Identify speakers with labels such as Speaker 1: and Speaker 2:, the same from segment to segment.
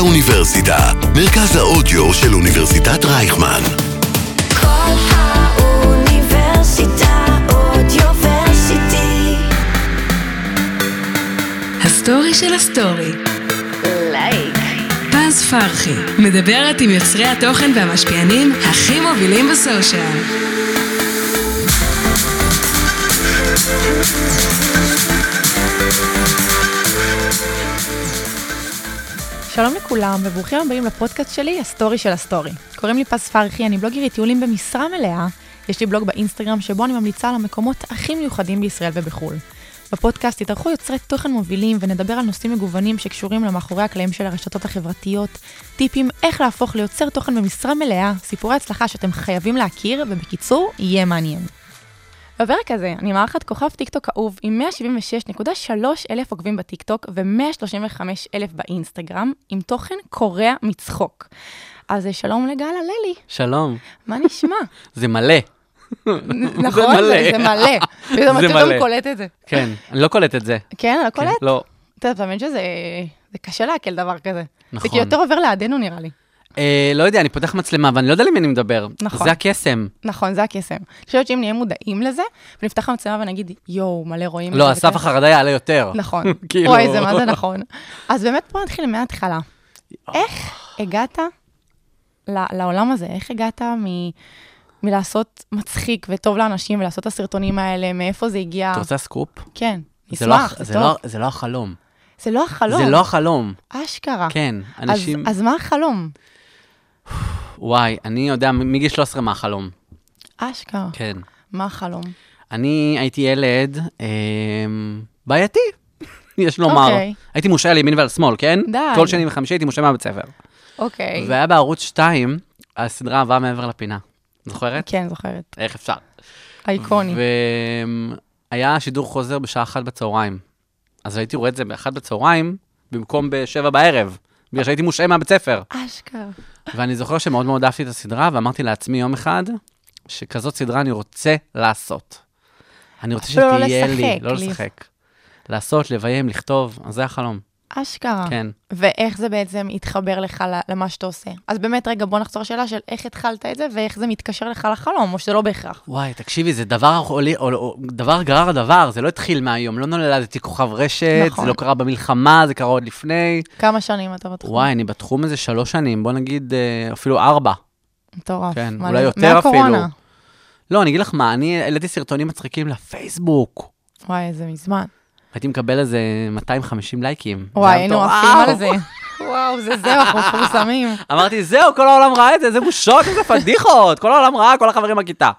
Speaker 1: האוניברסיטה, מרכז האודיו של אוניברסיטת רייכמן.
Speaker 2: כל האוניברסיטה אודיוורסיטי.
Speaker 3: הסטורי של הסטורי.
Speaker 2: לייק.
Speaker 3: פז פרחי מדברת עם יוצרי התוכן והמשפיענים הכי מובילים בסושיאל.
Speaker 4: שלום לכולם, וברוכים הבאים לפודקאסט שלי, הסטורי של הסטורי. קוראים לי פז פרחי, אני בלוגרית טיולים במשרה מלאה. יש לי בלוג באינסטגרם שבו אני ממליצה על המקומות הכי מיוחדים בישראל ובחו"ל. בפודקאסט יתארחו יוצרי תוכן מובילים ונדבר על נושאים מגוונים שקשורים למאחורי הקלעים של הרשתות החברתיות, טיפים איך להפוך ליוצר תוכן במשרה מלאה, סיפורי הצלחה שאתם חייבים להכיר, ובקיצור, יהיה מעניין. בפרק הזה אני מארחת כוכב טיקטוק אהוב עם 176.3 אלף עוקבים בטיקטוק ו-135 אלף באינסטגרם, עם תוכן קורע מצחוק. אז אה, שלום לגל הללי,
Speaker 5: שלום,
Speaker 4: מה נשמע?
Speaker 5: זה מלא.
Speaker 4: נכון?
Speaker 5: מלא.
Speaker 4: זה מלא. פתאום
Speaker 5: זה
Speaker 4: אתה פתאום
Speaker 5: מלא.
Speaker 4: קולט את זה.
Speaker 5: כן, אני לא קולט את זה.
Speaker 4: כן, אתה
Speaker 5: כן,
Speaker 4: קולט?
Speaker 5: לא,
Speaker 4: אתה יודע, באמת שזה זה קשה לעכל דבר כזה. זה
Speaker 5: נכון.
Speaker 4: כאילו יותר עובר לידינו נראה לי.
Speaker 5: אה, לא יודע, אני פותח מצלמה, ואני לא יודע למי אני מדבר.
Speaker 4: נכון.
Speaker 5: זה הקסם.
Speaker 4: נכון, זה הקסם. אני חושבת שאם נהיה מודעים לזה, ונפתח המצלמה ונגיד, יואו, מלא רואים. את
Speaker 5: לא,
Speaker 4: זה",
Speaker 5: הסף
Speaker 4: וכאלה.
Speaker 5: החרדה יעלה יותר.
Speaker 4: נכון.
Speaker 5: כאילו-
Speaker 4: וואי, זה מה זה נכון. אז באמת בוא נתחיל מההתחלה.
Speaker 5: אה.
Speaker 4: איך הגעת ל- לעולם הזה? איך הגעת מ- מלעשות מצחיק וטוב לאנשים ולעשות את הסרטונים האלה? מאיפה זה הגיע?
Speaker 5: את רוצה סקופ?
Speaker 4: כן,
Speaker 5: זה לא
Speaker 4: נשמח,
Speaker 5: הח- זה
Speaker 4: זה טוב.
Speaker 5: לא- זה לא החלום.
Speaker 4: זה לא החלום,
Speaker 5: זה לא החלום.
Speaker 4: אשכרה.
Speaker 5: כן,
Speaker 4: אז-
Speaker 5: אנשים...
Speaker 4: אז מה החלום?
Speaker 5: וואי, אני יודע מ- מגיל 13 מה החלום.
Speaker 4: אשכרה.
Speaker 5: כן.
Speaker 4: מה החלום?
Speaker 5: אני הייתי ילד אמ, בעייתי, יש לומר.
Speaker 4: אוקיי.
Speaker 5: הייתי מושעה על ימין ועל שמאל, כן?
Speaker 4: די.
Speaker 5: כל שני וחמישי הייתי מושעה מהבית ספר.
Speaker 4: אוקיי.
Speaker 5: זה היה בערוץ 2, הסדרה הבאה מעבר לפינה. זוכרת?
Speaker 4: כן, זוכרת.
Speaker 5: איך אפשר?
Speaker 4: אייקוני.
Speaker 5: והיה שידור חוזר בשעה אחת בצהריים. אז הייתי רואה את זה באחת בצהריים, במקום בשבע בערב, בגלל שהייתי מושעה מהבית ספר.
Speaker 4: אשכרה.
Speaker 5: ואני זוכר שמאוד מאוד אהבתי את הסדרה, ואמרתי לעצמי יום אחד, שכזאת סדרה אני רוצה לעשות. אני רוצה
Speaker 4: אפילו לא
Speaker 5: שתהיה לי,
Speaker 4: לשחק,
Speaker 5: לא
Speaker 4: לי.
Speaker 5: לשחק. לעשות, לביים, לכתוב, אז זה החלום,
Speaker 4: אשכרה.
Speaker 5: כן.
Speaker 4: ואיך זה בעצם התחבר לך ל- למה שאתה עושה. אז באמת, רגע, בוא נחזור לשאלה של איך התחלת את זה, ואיך זה מתקשר לך לחלום, או שזה לא בהכרח.
Speaker 5: וואי, תקשיבי, זה דבר, עולי- עול- עול- דבר גרר דבר, זה לא התחיל מהיום, לא נולדתי כוכב רשת,
Speaker 4: נכון.
Speaker 5: זה לא קרה במלחמה, זה קרה עוד לפני.
Speaker 4: כמה שנים אתה בתחום?
Speaker 5: וואי, אני בתחום הזה שלוש שנים, בוא נגיד אה, אפילו ארבע.
Speaker 4: מטורף.
Speaker 5: כן,
Speaker 4: מה,
Speaker 5: אולי
Speaker 4: זה-
Speaker 5: יותר
Speaker 4: מהקורונה.
Speaker 5: אפילו. לא, אני אגיד לך מה, אני העליתי סרטונים מצחיקים לפייסבוק.
Speaker 4: וואי, זה מזמן.
Speaker 5: הייתי מקבל איזה 250 לייקים. זה
Speaker 4: וואי,
Speaker 5: היה
Speaker 4: היינו
Speaker 5: מטורף.
Speaker 4: עפים על זה. וואו, זה זהו, אנחנו מפורסמים.
Speaker 5: אמרתי, זהו, כל העולם ראה את זה, איזה בושות, איזה פדיחות, כל העולם ראה, כל החברים בכיתה.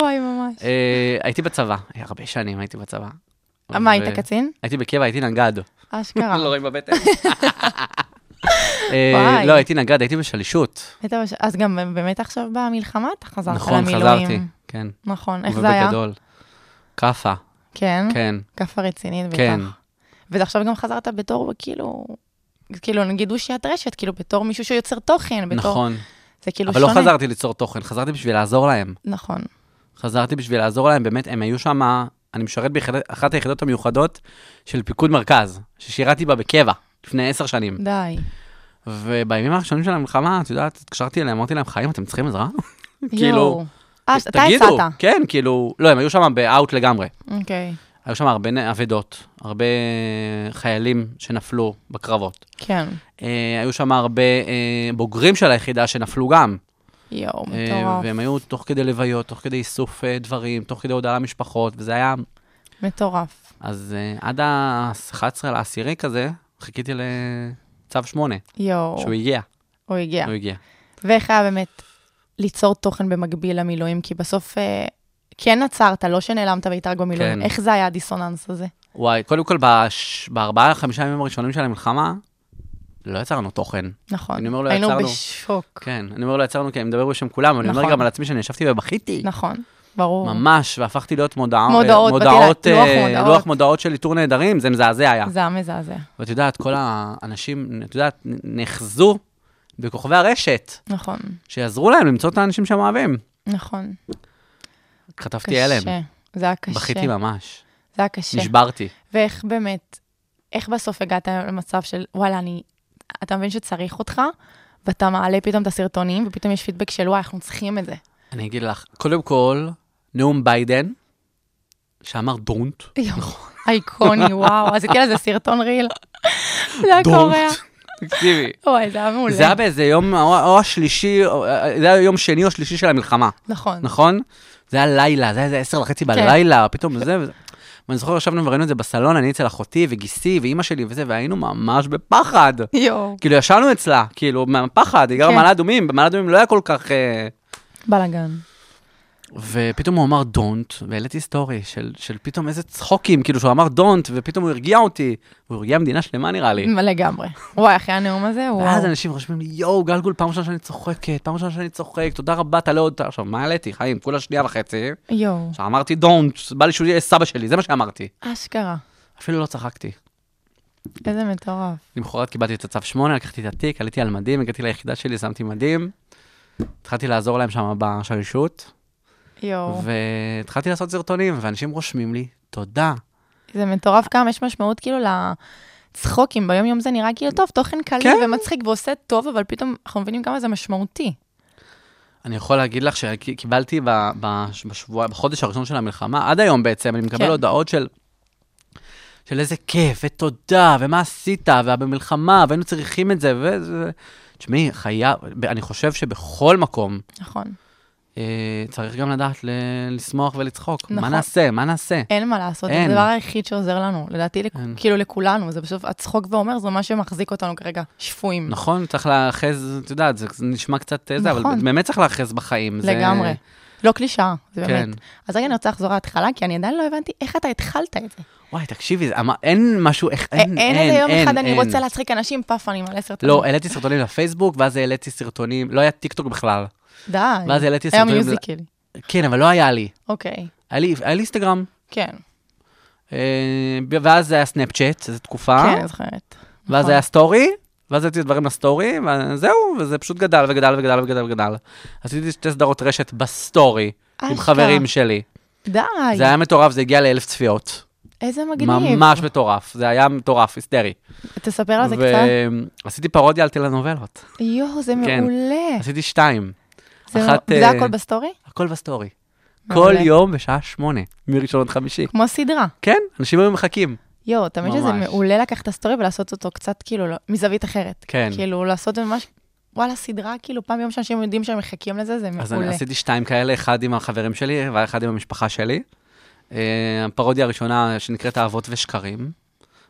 Speaker 4: וואי, ממש.
Speaker 5: אה, הייתי בצבא, היה הרבה שנים הייתי בצבא.
Speaker 4: אה, מה,
Speaker 5: ו-
Speaker 4: היית קצין?
Speaker 5: הייתי בקבע, הייתי נגד.
Speaker 4: אשכרה.
Speaker 5: לא רואים בבטן. אה,
Speaker 4: וואי.
Speaker 5: לא, הייתי נגד, הייתי בשלישות.
Speaker 4: היית בש- אז גם באמת עכשיו במלחמה אתה חזרת
Speaker 5: נכון,
Speaker 4: למילואים.
Speaker 5: חזרתי, כן.
Speaker 4: נכון, איך זה היה?
Speaker 5: ובגדול. כאפה,
Speaker 4: כן?
Speaker 5: כן.
Speaker 4: כאפה רצינית בטח.
Speaker 5: כן.
Speaker 4: ועכשיו גם חזרת בתור, כאילו, כאילו נגיד אושיית רשת, כאילו בתור מישהו שיוצר תוכן, בתור...
Speaker 5: נכון.
Speaker 4: זה כאילו
Speaker 5: אבל
Speaker 4: שונה.
Speaker 5: לא חזרתי ליצור תוכן, חזרתי בשביל לעזור להם.
Speaker 4: נכון.
Speaker 5: חזרתי בשביל לעזור להם, באמת, הם היו שם, אני משרת באחת היחידות המיוחדות של פיקוד מרכז, ששירתי בה בקבע לפני עשר שנים.
Speaker 4: די.
Speaker 5: ובימים הראשונים של המלחמה, את יודעת, התקשרתי אליהם, אמרתי להם, חיים, אתם צריכים עזרה?
Speaker 4: יואו.
Speaker 5: כאילו,
Speaker 4: אה, אז אתה
Speaker 5: תגידו.
Speaker 4: הצעת.
Speaker 5: כן, כאילו, לא, הם היו שם באאוט לגמרי.
Speaker 4: אוקיי.
Speaker 5: היו שם הרבה נ- אבדות, הרבה אה, חיילים שנפלו בקרבות.
Speaker 4: כן.
Speaker 5: אה, היו שם הרבה אה, בוגרים של היחידה שנפלו גם.
Speaker 4: יואו,
Speaker 5: אה,
Speaker 4: מטורף.
Speaker 5: והם היו תוך כדי לוויות, תוך כדי איסוף אה, דברים, תוך כדי הודעה למשפחות, וזה היה...
Speaker 4: מטורף.
Speaker 5: אז אה, עד ה-11 לעשירי כזה, חיכיתי לצו 8,
Speaker 4: יואו.
Speaker 5: שהוא הגיע,
Speaker 4: הוא הגיע.
Speaker 5: הוא הגיע.
Speaker 4: ואיך היה באמת ליצור תוכן במקביל למילואים? כי בסוף אה, כן עצרת, לא שנעלמת והיית רק במילואים.
Speaker 5: כן.
Speaker 4: איך זה היה הדיסוננס הזה?
Speaker 5: וואי, קודם כל, בש- בארבעה, חמישה ימים הראשונים של המלחמה, לא יצרנו תוכן.
Speaker 4: נכון.
Speaker 5: אני אומר, לא
Speaker 4: היינו
Speaker 5: יצרנו.
Speaker 4: בשוק.
Speaker 5: כן, אני אומר לא יצרנו, כי אני מדבר בשם כולם, אבל אני אומר
Speaker 4: נכון.
Speaker 5: גם על עצמי שאני ישבתי ובכיתי.
Speaker 4: נכון, ברור.
Speaker 5: ממש, והפכתי להיות מודע...
Speaker 4: מודעות,
Speaker 5: אה, מודעות,
Speaker 4: בדיוק, לוח
Speaker 5: אה,
Speaker 4: מודעות.
Speaker 5: לוח מודעות של איתור נהדרים, זה מזעזע היה.
Speaker 4: זה היה מזעזע.
Speaker 5: ואת יודעת, כל האנשים, את יודעת, נאחזו בכוכבי הרשת,
Speaker 4: נכון,
Speaker 5: שיעזרו להם למצוא את האנשים שהם אוהבים.
Speaker 4: נכון.
Speaker 5: כתבתי הלם,
Speaker 4: קשה. זה היה קשה.
Speaker 5: בכיתי ממש,
Speaker 4: זה היה קשה.
Speaker 5: נשברתי.
Speaker 4: ואיך באמת, איך בסוף הגעת היום למצב של, וואלה, אני אתה מבין שצריך אותך, ואתה מעלה פתאום את הסרטונים, ופתאום יש פידבק של וואי, אנחנו צריכים את זה.
Speaker 5: אני אגיד לך, קודם כל, נאום ביידן, שאמר דונט,
Speaker 4: אייקוני, וואו, עשיתי על זה כאילו סרטון ריל. זה היה
Speaker 5: דונט.
Speaker 4: קורע.
Speaker 5: תקשיבי.
Speaker 4: וואי, זה היה מעולה.
Speaker 5: זה היה באיזה יום, או, או השלישי, או, אה, זה היה יום שני או שלישי של המלחמה,
Speaker 4: נכון.
Speaker 5: נכון? זה היה לילה, זה היה איזה עשר
Speaker 4: כן.
Speaker 5: וחצי בלילה, פתאום זה וזה. ואני זוכר, ישבנו וראינו את זה בסלון, אני אצל אחותי וגיסי ואימא שלי וזה, והיינו ממש בפחד.
Speaker 4: יואו,
Speaker 5: כאילו, ישנו אצלה, כאילו, מהפחד, היא גרה
Speaker 4: כן.
Speaker 5: במעלה אדומים, במעלה אדומים לא היה כל כך... אה,
Speaker 4: בלאגן.
Speaker 5: ופתאום הוא אמר דונט, והעליתי סטורי של, של פתאום איזה צחוקים, כאילו שהוא אמר דונט, ופתאום הוא הרגיע אותי. הוא הרגיע מדינה שלמה נראה לי.
Speaker 4: לגמרי. וואי, אחרי הנאום הזה,
Speaker 5: ואז
Speaker 4: וואו.
Speaker 5: אנשים חושבים לי, יואו, גלגול, פעם ראשונה שאני צוחקת, פעם ראשונה שאני צוחק, תודה רבה, תעלה עוד... עכשיו, מה העליתי, חיים? כולה שנייה וחצי.
Speaker 4: יואו,
Speaker 5: עכשיו, אמרתי דונט, בא לי שהוא יהיה סבא שלי, זה מה שאמרתי.
Speaker 4: אשכרה.
Speaker 5: אפילו לא צחקתי.
Speaker 4: איזה מטורף.
Speaker 5: למחרת קיבלתי את הצו 8, לקחתי את התיק, עליתי על מדים, הגעתי ליחידה שלי, שמתי מדים. התחלתי לעזור להם שם בשלישות,
Speaker 4: יואו.
Speaker 5: והתחלתי לעשות סרטונים, ואנשים רושמים לי, תודה.
Speaker 4: זה מטורף כמה יש משמעות כאילו לצחוקים, ביום יום זה נראה כאילו טוב, תוכן קליל
Speaker 5: כן.
Speaker 4: ומצחיק ועושה טוב, אבל פתאום אנחנו מבינים כמה זה משמעותי.
Speaker 5: אני יכול להגיד לך שקיבלתי ב- בש- בשבוע, בחודש הראשון של המלחמה, עד היום בעצם, אני מקבל
Speaker 4: כן.
Speaker 5: הודעות של... של איזה כיף, ותודה, ומה עשית, ובמלחמה, והיינו צריכים את זה, וזה... תשמעי, חייב, אני חושב שבכל מקום
Speaker 4: נכון,
Speaker 5: אה, צריך גם לדעת ל- לשמוח ולצחוק. מה
Speaker 4: נכון.
Speaker 5: נעשה? מה נעשה?
Speaker 4: אין מה לעשות, זה
Speaker 5: אין.
Speaker 4: הדבר היחיד שעוזר לנו, לדעתי, לכ-
Speaker 5: אין.
Speaker 4: כאילו לכולנו, זה בסוף הצחוק ואומר, זה מה שמחזיק אותנו כרגע, שפויים.
Speaker 5: נכון, צריך להאחז, את יודעת, זה נשמע קצת אה, זה, אבל
Speaker 4: נכון.
Speaker 5: באמת צריך להאחז בחיים. זה-
Speaker 4: לגמרי. לא קלישאה, זה
Speaker 5: כן.
Speaker 4: באמת. אז רגע, אני רוצה לחזור להתחלה, כי אני עדיין לא הבנתי איך אתה התחלת את זה.
Speaker 5: וואי, תקשיבי, זה אמר- אין משהו, איך- אין,
Speaker 4: אה, אין, איזה יום
Speaker 5: אין,
Speaker 4: אחד אני
Speaker 5: אין.
Speaker 4: רוצה להצחיק אנשים, פאף, אני מלא סרטונים.
Speaker 5: לא, העליתי סרטונים לפייסבוק, ואז העליתי סרטונים, לא היה טיקטוק בכלל.
Speaker 4: די.
Speaker 5: ואז העליתי
Speaker 4: היה
Speaker 5: סרטונים ל-
Speaker 4: מיוזיקלי.
Speaker 5: כן, אבל לא היה לי.
Speaker 4: אוקיי,
Speaker 5: היה לי, היה לי אינסטגרם,
Speaker 4: כן,
Speaker 5: אה, ואז זה היה סנאפצ'אט, זו תקופה,
Speaker 4: כן, זוכרת.
Speaker 5: ואז
Speaker 4: נכון.
Speaker 5: היה סטורי, ואז הייתי דברים לסטורי, וזהו, וזה פשוט גדל וגדל וגדל וגדל וגדל. עשיתי שתי סדרות רשת בסטורי, עם
Speaker 4: אשכרה.
Speaker 5: חברים שלי.
Speaker 4: די,
Speaker 5: זה היה מטורף, זה הגיע לאלף צפיות.
Speaker 4: איזה מגניב.
Speaker 5: ממש מטורף, זה היה מטורף, היסטרי.
Speaker 4: תספר על זה קצת.
Speaker 5: ועשיתי פרודיה על טלנובלות,
Speaker 4: יואו, זה
Speaker 5: כן.
Speaker 4: מעולה.
Speaker 5: עשיתי שתיים.
Speaker 4: זה
Speaker 5: אחת,
Speaker 4: מעולה. זה
Speaker 5: אה,
Speaker 4: הכל בסטורי?
Speaker 5: הכל בסטורי. כל
Speaker 4: מעולה.
Speaker 5: יום בשעה שמונה, מראשון עד חמישי.
Speaker 4: כמו סדרה.
Speaker 5: כן, אנשים היו מחכים.
Speaker 4: יואו, תמיד שזה
Speaker 5: ממש.
Speaker 4: מעולה לקחת את הסטורי ולעשות אותו קצת כאילו לא- מזווית אחרת.
Speaker 5: כן.
Speaker 4: כאילו לעשות ממש, וואלה, סדרה, כאילו פעם ביום שאנשים יודעים שהם מחכים לזה, זה
Speaker 5: אז אני
Speaker 4: מעולה.
Speaker 5: עשיתי שתיים כאלה, אחד עם החברים שלי ואחד עם המשפחה שלי. אה, הפרודיה הראשונה שנקראת אהבות ושקרים.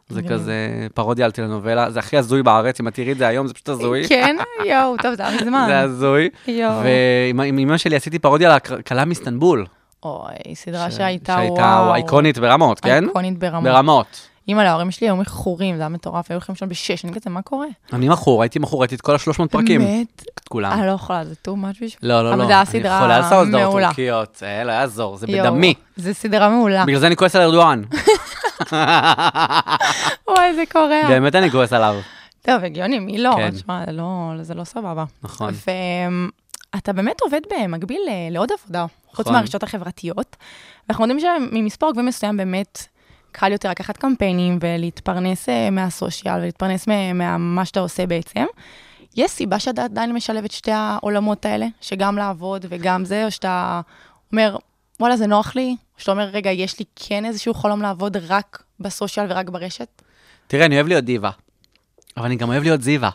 Speaker 5: זה
Speaker 4: מגניב.
Speaker 5: כזה פרודיה על טלנובלה, זה הכי הזוי בארץ, אם את תראי את זה היום זה פשוט הזוי.
Speaker 4: כן, יואו, טוב, זה היה מזמן.
Speaker 5: זה הזוי.
Speaker 4: יואו.
Speaker 5: ועם עם אמא שלי עשיתי פרודיה על הכלה מאיסטנבול.
Speaker 4: אוי, סדרה
Speaker 5: ש-
Speaker 4: שהייתה, וואו.
Speaker 5: שהייתה אייקונית ברמות, כן?
Speaker 4: אייקונית ברמה.
Speaker 5: ברמות.
Speaker 4: אימא להורים שלי היו מכורים, זה היה מטורף, היו הולכים לשאול בשש, אני כזה, מה קורה?
Speaker 5: אני מכור, הייתי מכור, הייתי את כל ה-300 פרקים.
Speaker 4: באמת?
Speaker 5: את כולם.
Speaker 4: אני לא יכולה, זה too much בשביל...
Speaker 5: אה. לא, לא, לא.
Speaker 4: אבל זה היה
Speaker 5: אני
Speaker 4: סדרה
Speaker 5: חולה על סאוסדרות
Speaker 4: מעולה.
Speaker 5: טורקיות, אה, לא יעזור, זה
Speaker 4: יואו, אה.
Speaker 5: בדמי.
Speaker 4: זה סדרה מעולה.
Speaker 5: בגלל זה אני כועס על ארדואן.
Speaker 4: וואי, זה קורע.
Speaker 5: באמת אני כועס עליו.
Speaker 4: טוב, הגיוני, מי לא?
Speaker 5: כן.
Speaker 4: תשמע, זה לא, זה לא סבבה.
Speaker 5: נכון.
Speaker 4: ואתה באמת עובד במקביל אה, לעוד עבודה, חוץ
Speaker 5: נכון.
Speaker 4: מהרשתות החברתיות. ואנחנו יודעים שממספר עוקבים מסוים באמת קל יותר לקחת קמפיינים ולהתפרנס אה, מהסושיאל ולהתפרנס מ- ממה שאתה עושה בעצם. יש סיבה שאתה עדיין משלב את שתי העולמות האלה, שגם לעבוד וגם זה, או שאתה אומר, וואלה, זה נוח לי, או שאתה אומר, רגע, יש לי כן איזשהו חלום לעבוד רק בסושיאל ורק ברשת?
Speaker 5: תראה, אני אוהב להיות דיווה. אבל אני גם אוהב להיות זיווה.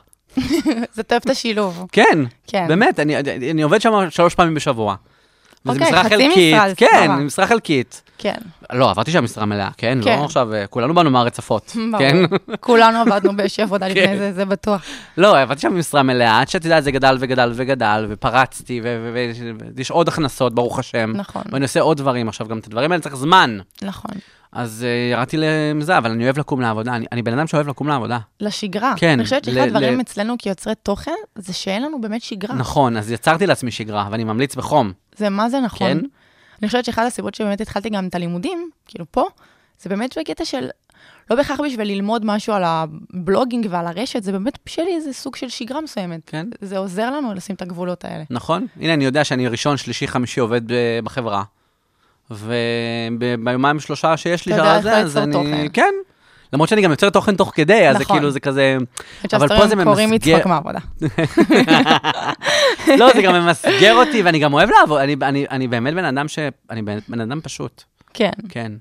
Speaker 4: זה טוב את השילוב.
Speaker 5: כן,
Speaker 4: כן.
Speaker 5: באמת, אני- אני אני עובד שם שלוש פעמים בשבוע. וזה
Speaker 4: אוקיי,
Speaker 5: משרה
Speaker 4: חצי
Speaker 5: חלקית.
Speaker 4: משרה, זה
Speaker 5: כן,
Speaker 4: סבבה.
Speaker 5: משרה חלקית.
Speaker 4: כן.
Speaker 5: לא, עברתי שם משרה מלאה, כן?
Speaker 4: כן.
Speaker 5: לא עכשיו, אה, כולנו באנו מהרצפות,
Speaker 4: ברור.
Speaker 5: כן?
Speaker 4: כולנו עבדנו באיזושהי עבודה
Speaker 5: כן.
Speaker 4: לפני זה, זה בטוח.
Speaker 5: לא, עבדתי שם משרה מלאה, עד שאת יודעת, זה גדל וגדל וגדל, ופרצתי, ו- ו- ו- ויש עוד הכנסות, ברוך השם.
Speaker 4: נכון.
Speaker 5: ואני עושה עוד דברים עכשיו, גם את הדברים האלה צריך זמן.
Speaker 4: נכון.
Speaker 5: אז אה, ירדתי לזה, אבל אני אוהב לקום לעבודה, אני, אני בן אדם שאוהב לקום לעבודה.
Speaker 4: לשגרה.
Speaker 5: כן,
Speaker 4: אני חושבת
Speaker 5: ל-
Speaker 4: שאחד הדברים
Speaker 5: ל-
Speaker 4: אצלנו כיוצרי תוכן, זה שאין לנו באמת שגרה.
Speaker 5: נכון, אז יצרתי לעצמי שגרה, ואני ממליץ בחום.
Speaker 4: זה מה זה נכון.
Speaker 5: כן.
Speaker 4: אני חושבת שאחת הסיבות שבאמת התחלתי גם את הלימודים, כאילו פה, זה באמת בקטע של, לא בהכרח בשביל ללמוד משהו על הבלוגינג ועל הרשת, זה באמת שלי איזה סוג של שגרה מסוימת.
Speaker 5: כן.
Speaker 4: זה עוזר לנו לשים את הגבולות האלה.
Speaker 5: נכון? הנה, אני יודע שאני ראשון, שלישי, חמישי עובד אה, בחברה, וביומיים שלושה שיש לי
Speaker 4: אתה יודע
Speaker 5: שעל
Speaker 4: איך
Speaker 5: זה,
Speaker 4: ליצור תוכן.
Speaker 5: כן. למרות שאני גם יוצר תוכן תוך כדי, אז זה
Speaker 4: נכון.
Speaker 5: כאילו זה כזה... אבל פה זה
Speaker 4: שהסטורים קוראים
Speaker 5: ממסגר-
Speaker 4: מצחוק מהעבודה.
Speaker 5: לא, זה גם ממסגר אותי, ואני גם אוהב לעבוד. אני- אני- אני באמת בן אדם ש... אני בן בן אדם פשוט,
Speaker 4: כן,
Speaker 5: כן.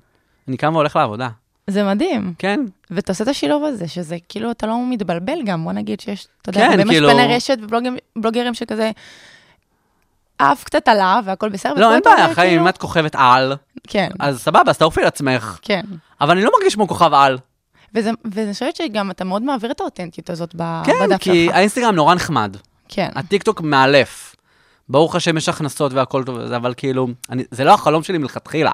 Speaker 5: אני קם והולך לעבודה,
Speaker 4: זה מדהים.
Speaker 5: כן.
Speaker 4: ואתה עושה את השילוב הזה, שזה כאילו, אתה לא מתבלבל גם, בוא נגיד שיש, אתה יודע,
Speaker 5: כן,
Speaker 4: הרבה
Speaker 5: כאילו-
Speaker 4: משפני רשת ובלוגרים שכזה, עף קצת עליו והכל בסדר.
Speaker 5: לא,
Speaker 4: ופה
Speaker 5: אין
Speaker 4: אתה
Speaker 5: בעיה,
Speaker 4: אומר,
Speaker 5: חיים,
Speaker 4: כאילו-
Speaker 5: אם את כוכבת על,
Speaker 4: כן,
Speaker 5: אז סבבה, אז תעופי לעצמך.
Speaker 4: כן.
Speaker 5: אבל אני לא מרגיש כמו כוכב על.
Speaker 4: אה, וזה- ואני חושבת שגם אתה מאוד מעביר את האותנטיות הזאת ב-
Speaker 5: כן,
Speaker 4: בדף
Speaker 5: כי
Speaker 4: שלך.
Speaker 5: האינסטגרם נורא נחמד.
Speaker 4: כן,
Speaker 5: הטיקטוק מאלף. ברוך השם יש הכנסות והכל טוב, וזה, אבל כאילו, אני, זה לא החלום שלי מלכתחילה.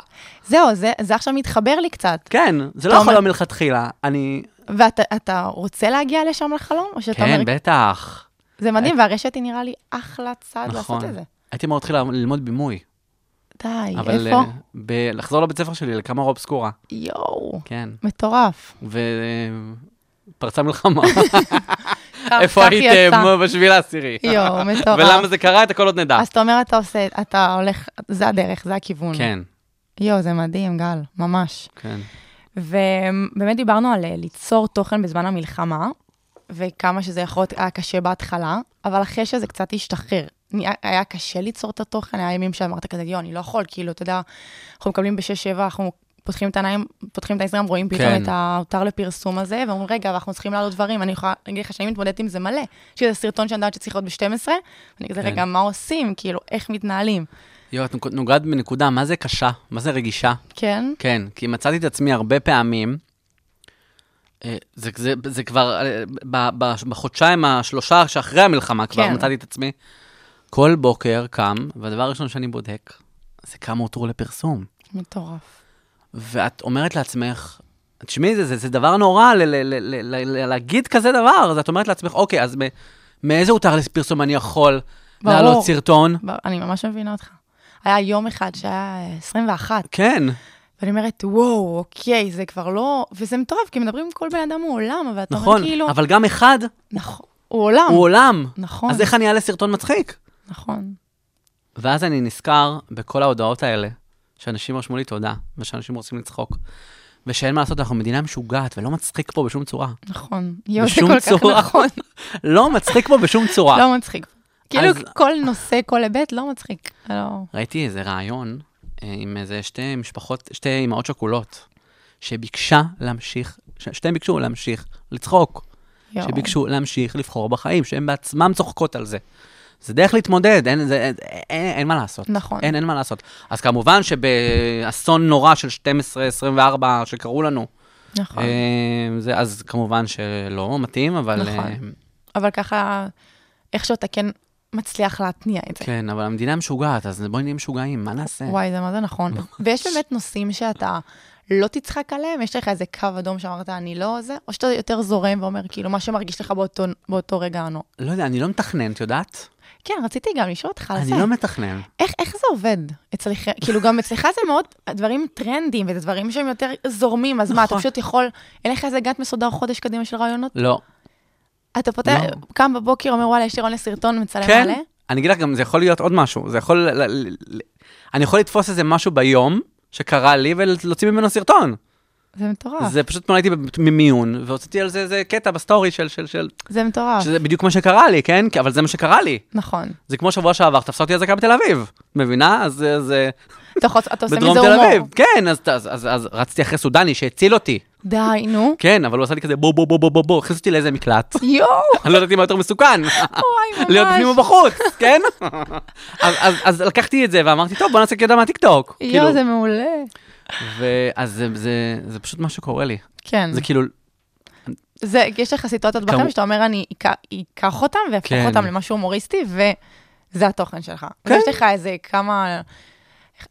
Speaker 4: זהו, זה- זה עכשיו מתחבר לי קצת.
Speaker 5: כן, זה
Speaker 4: אתה
Speaker 5: לא
Speaker 4: אומר-
Speaker 5: החלום מלכתחילה. אני...
Speaker 4: ואתה אתה רוצה להגיע לשם לחלום? או שאתה
Speaker 5: כן,
Speaker 4: אומר,
Speaker 5: בטח.
Speaker 4: זה מדהים, והרשת היא נראה לי אחלה צעד לעשות
Speaker 5: נכון.
Speaker 4: את זה.
Speaker 5: הייתי אמור להתחיל ללמוד בימוי.
Speaker 4: די,
Speaker 5: אבל
Speaker 4: איפה?
Speaker 5: אה, ב- לחזור לבית ספר שלי, לקאמר אובסקורה.
Speaker 4: יואו,
Speaker 5: כן.
Speaker 4: מטורף.
Speaker 5: ופרצה מלחמה.
Speaker 4: כך
Speaker 5: איפה
Speaker 4: יצא.
Speaker 5: הייתם בשביל העשירי?
Speaker 4: יואו, מטורף.
Speaker 5: ולמה זה קרה? את הכל עוד נדע.
Speaker 4: אז אתה אומר, אתה עושה, אתה הולך, זה הדרך, זה הכיוון.
Speaker 5: כן,
Speaker 4: יואו, זה מדהים, גל, ממש.
Speaker 5: כן.
Speaker 4: ובאמת דיברנו על אה, ליצור תוכן בזמן המלחמה, וכמה שזה יכול להיות היה קשה בהתחלה, אבל אחרי שזה קצת השתחרר. נהיה- היה קשה ליצור את התוכן, היה ימים שאמרת כזה, יואו, אני לא יכול, כאילו, אתה יודע, אנחנו מקבלים בשש-שבע, אנחנו פותחים את העיניים, פותחים את האינסטגרם, רואים פתאום
Speaker 5: כן.
Speaker 4: את האותר לפרסום הזה, ואומרים, רגע, אבל אנחנו צריכים להעלות דברים, אני יכולה להגיד לך שאני מתמודדת עם זה מלא. יש לי איזה סרטון שאני יודעת שצריך להיות ב-12, ואני כזה,
Speaker 5: כן.
Speaker 4: רגע, מה עושים? כאילו, איך מתנהלים?
Speaker 5: יואו, את נוגעת בנקודה, מה זה קשה? מה זה רגישה?
Speaker 4: כן?
Speaker 5: כן, כי מצאתי את עצמי הרבה פעמים, אה, זה, זה, זה כבר, אה, ב, ב, בחודשיים, השלושה שאחרי המלחמה כבר
Speaker 4: כן.
Speaker 5: מצאתי את עצמי, כל בוקר קם, והדבר הראשון שאני בודק, זה כמה הותרו לפרסום.
Speaker 4: מטורף.
Speaker 5: ואת אומרת לעצמך, תשמעי, זה, זה, זה דבר נורא ל, ל, ל, ל, ל, ל, להגיד כזה דבר, אז את אומרת לעצמך, אוקיי, אז מ, מאיזה הותר לפרסום אני יכול
Speaker 4: ברור.
Speaker 5: להעלות סרטון?
Speaker 4: ב- אני ממש מבינה אותך. היה יום אחד שהיה אה, 21,
Speaker 5: כן,
Speaker 4: ואני אומרת, וואו, אוקיי, זה כבר לא... וזה מטורף, כי מדברים עם כל בן אדם הוא עולם, אבל אתה
Speaker 5: נכון,
Speaker 4: אומר כאילו...
Speaker 5: אבל גם אחד
Speaker 4: נכון, הוא עולם.
Speaker 5: הוא עולם,
Speaker 4: נכון,
Speaker 5: אז איך אני אעלה סרטון מצחיק?
Speaker 4: נכון.
Speaker 5: ואז אני נזכר בכל ההודעות האלה, שאנשים רשמו לי תודה, ושאנשים רוצים לצחוק, ושאין מה לעשות, אנחנו מדינה משוגעת, ולא מצחיק פה בשום צורה.
Speaker 4: נכון, יואו, זה
Speaker 5: בשום
Speaker 4: כל כך
Speaker 5: צורה.
Speaker 4: נכון,
Speaker 5: לא מצחיק פה בשום צורה.
Speaker 4: לא מצחיק. כאילו
Speaker 5: אז-
Speaker 4: כל נושא, כל היבט, לא מצחיק. לא,
Speaker 5: ראיתי איזה רעיון אה, עם איזה שתי משפחות, שתי אימהות שכולות, שביקשה להמשיך, ש- שתיהן ביקשו להמשיך לצחוק,
Speaker 4: יואו.
Speaker 5: שביקשו להמשיך לבחור בחיים, שהן בעצמן צוחקות על זה. זה דרך להתמודד, אין, זה, אין, אין, אין מה לעשות.
Speaker 4: נכון.
Speaker 5: אין, אין מה לעשות. אז כמובן שבאסון נורא של 12-24 שקרו לנו,
Speaker 4: נכון,
Speaker 5: אה, זה, אז כמובן שלא מתאים, אבל...
Speaker 4: נכון.
Speaker 5: אה,
Speaker 4: אבל ככה, איכשהו אתה כן מצליח להתניע את זה.
Speaker 5: כן, אבל המדינה משוגעת, אז בואי נהיה משוגעים, מה נעשה?
Speaker 4: וואי, זה מה זה נכון. ויש באמת נושאים שאתה לא תצחק עליהם? יש לך איזה קו אדום שאמרת, אני לא זה? או שאתה יותר זורם ואומר, כאילו, מה שמרגיש לך באותו, באותו רגע ענו.
Speaker 5: לא יודע, אני לא מתכנן, את יודעת?
Speaker 4: כן, רציתי גם לשאול אותך על זה.
Speaker 5: אני לא מתכנן.
Speaker 4: איך, איך זה עובד אצלך? כאילו, גם אצלך זה מאוד דברים טרנדיים, וזה דברים שהם יותר זורמים, אז מה, אתה
Speaker 5: נכון.
Speaker 4: פשוט יכול, אין לך איזה גאנט מסודר חודש קדימה של רעיונות?
Speaker 5: לא.
Speaker 4: אתה פותח,
Speaker 5: לא.
Speaker 4: קם בבוקר, אומר, וואלה, יש לי רעיון לסרטון, מצלם
Speaker 5: כן?
Speaker 4: מלא?
Speaker 5: אני אגיד לך גם, זה יכול להיות עוד משהו. זה יכול... ל- ל- ל- אני יכול לתפוס איזה משהו ביום שקרה לי ולהוציא ממנו סרטון.
Speaker 4: זה מטורף. זה,
Speaker 5: זה פשוט אתמול הייתי במיון, והוצאתי על זה איזה קטע בסטורי של... של, של
Speaker 4: מטורף,
Speaker 5: שזה בדיוק מה שקרה לי, כן? כי- אבל זה מה שקרה לי.
Speaker 4: נכון.
Speaker 5: זה כמו שבוע שעבר, תפסה אותי אזעקה בתל אביב. מבינה? אז אה, זה...
Speaker 4: אתה, יכול- אתה עושה
Speaker 5: בדרום
Speaker 4: מזה
Speaker 5: תל
Speaker 4: הומור.
Speaker 5: אביב. כן, אז, אז, אז, אז רצתי אחרי סודני שהציל אותי.
Speaker 4: די, נו.
Speaker 5: כן, אבל הוא עשה לי כזה בוא בוא בוא בוא בוא בוא, הכניס אותי לאיזה מקלט.
Speaker 4: יואו!
Speaker 5: אני לא ידעתי מה יותר מסוכן.
Speaker 4: וואי, ממש.
Speaker 5: להיות בפנים או בחוץ, כן? אז, אז, אז לקחתי את זה ואמרתי, טוב, בוא נעשה קטע מהטיקטוק.
Speaker 4: יואו, זה
Speaker 5: כאילו,
Speaker 4: מעולה.
Speaker 5: ואז זה, זה, זה פשוט מה שקורה לי.
Speaker 4: כן.
Speaker 5: זה כאילו,
Speaker 4: זה, יש לך סיטואציות
Speaker 5: כמו-
Speaker 4: בחיים שאתה אומר, אני אקח- אקח אותם והפוך
Speaker 5: כן.
Speaker 4: אותם למשהו הומוריסטי, וזה התוכן שלך.
Speaker 5: כן.
Speaker 4: יש לך איזה כמה...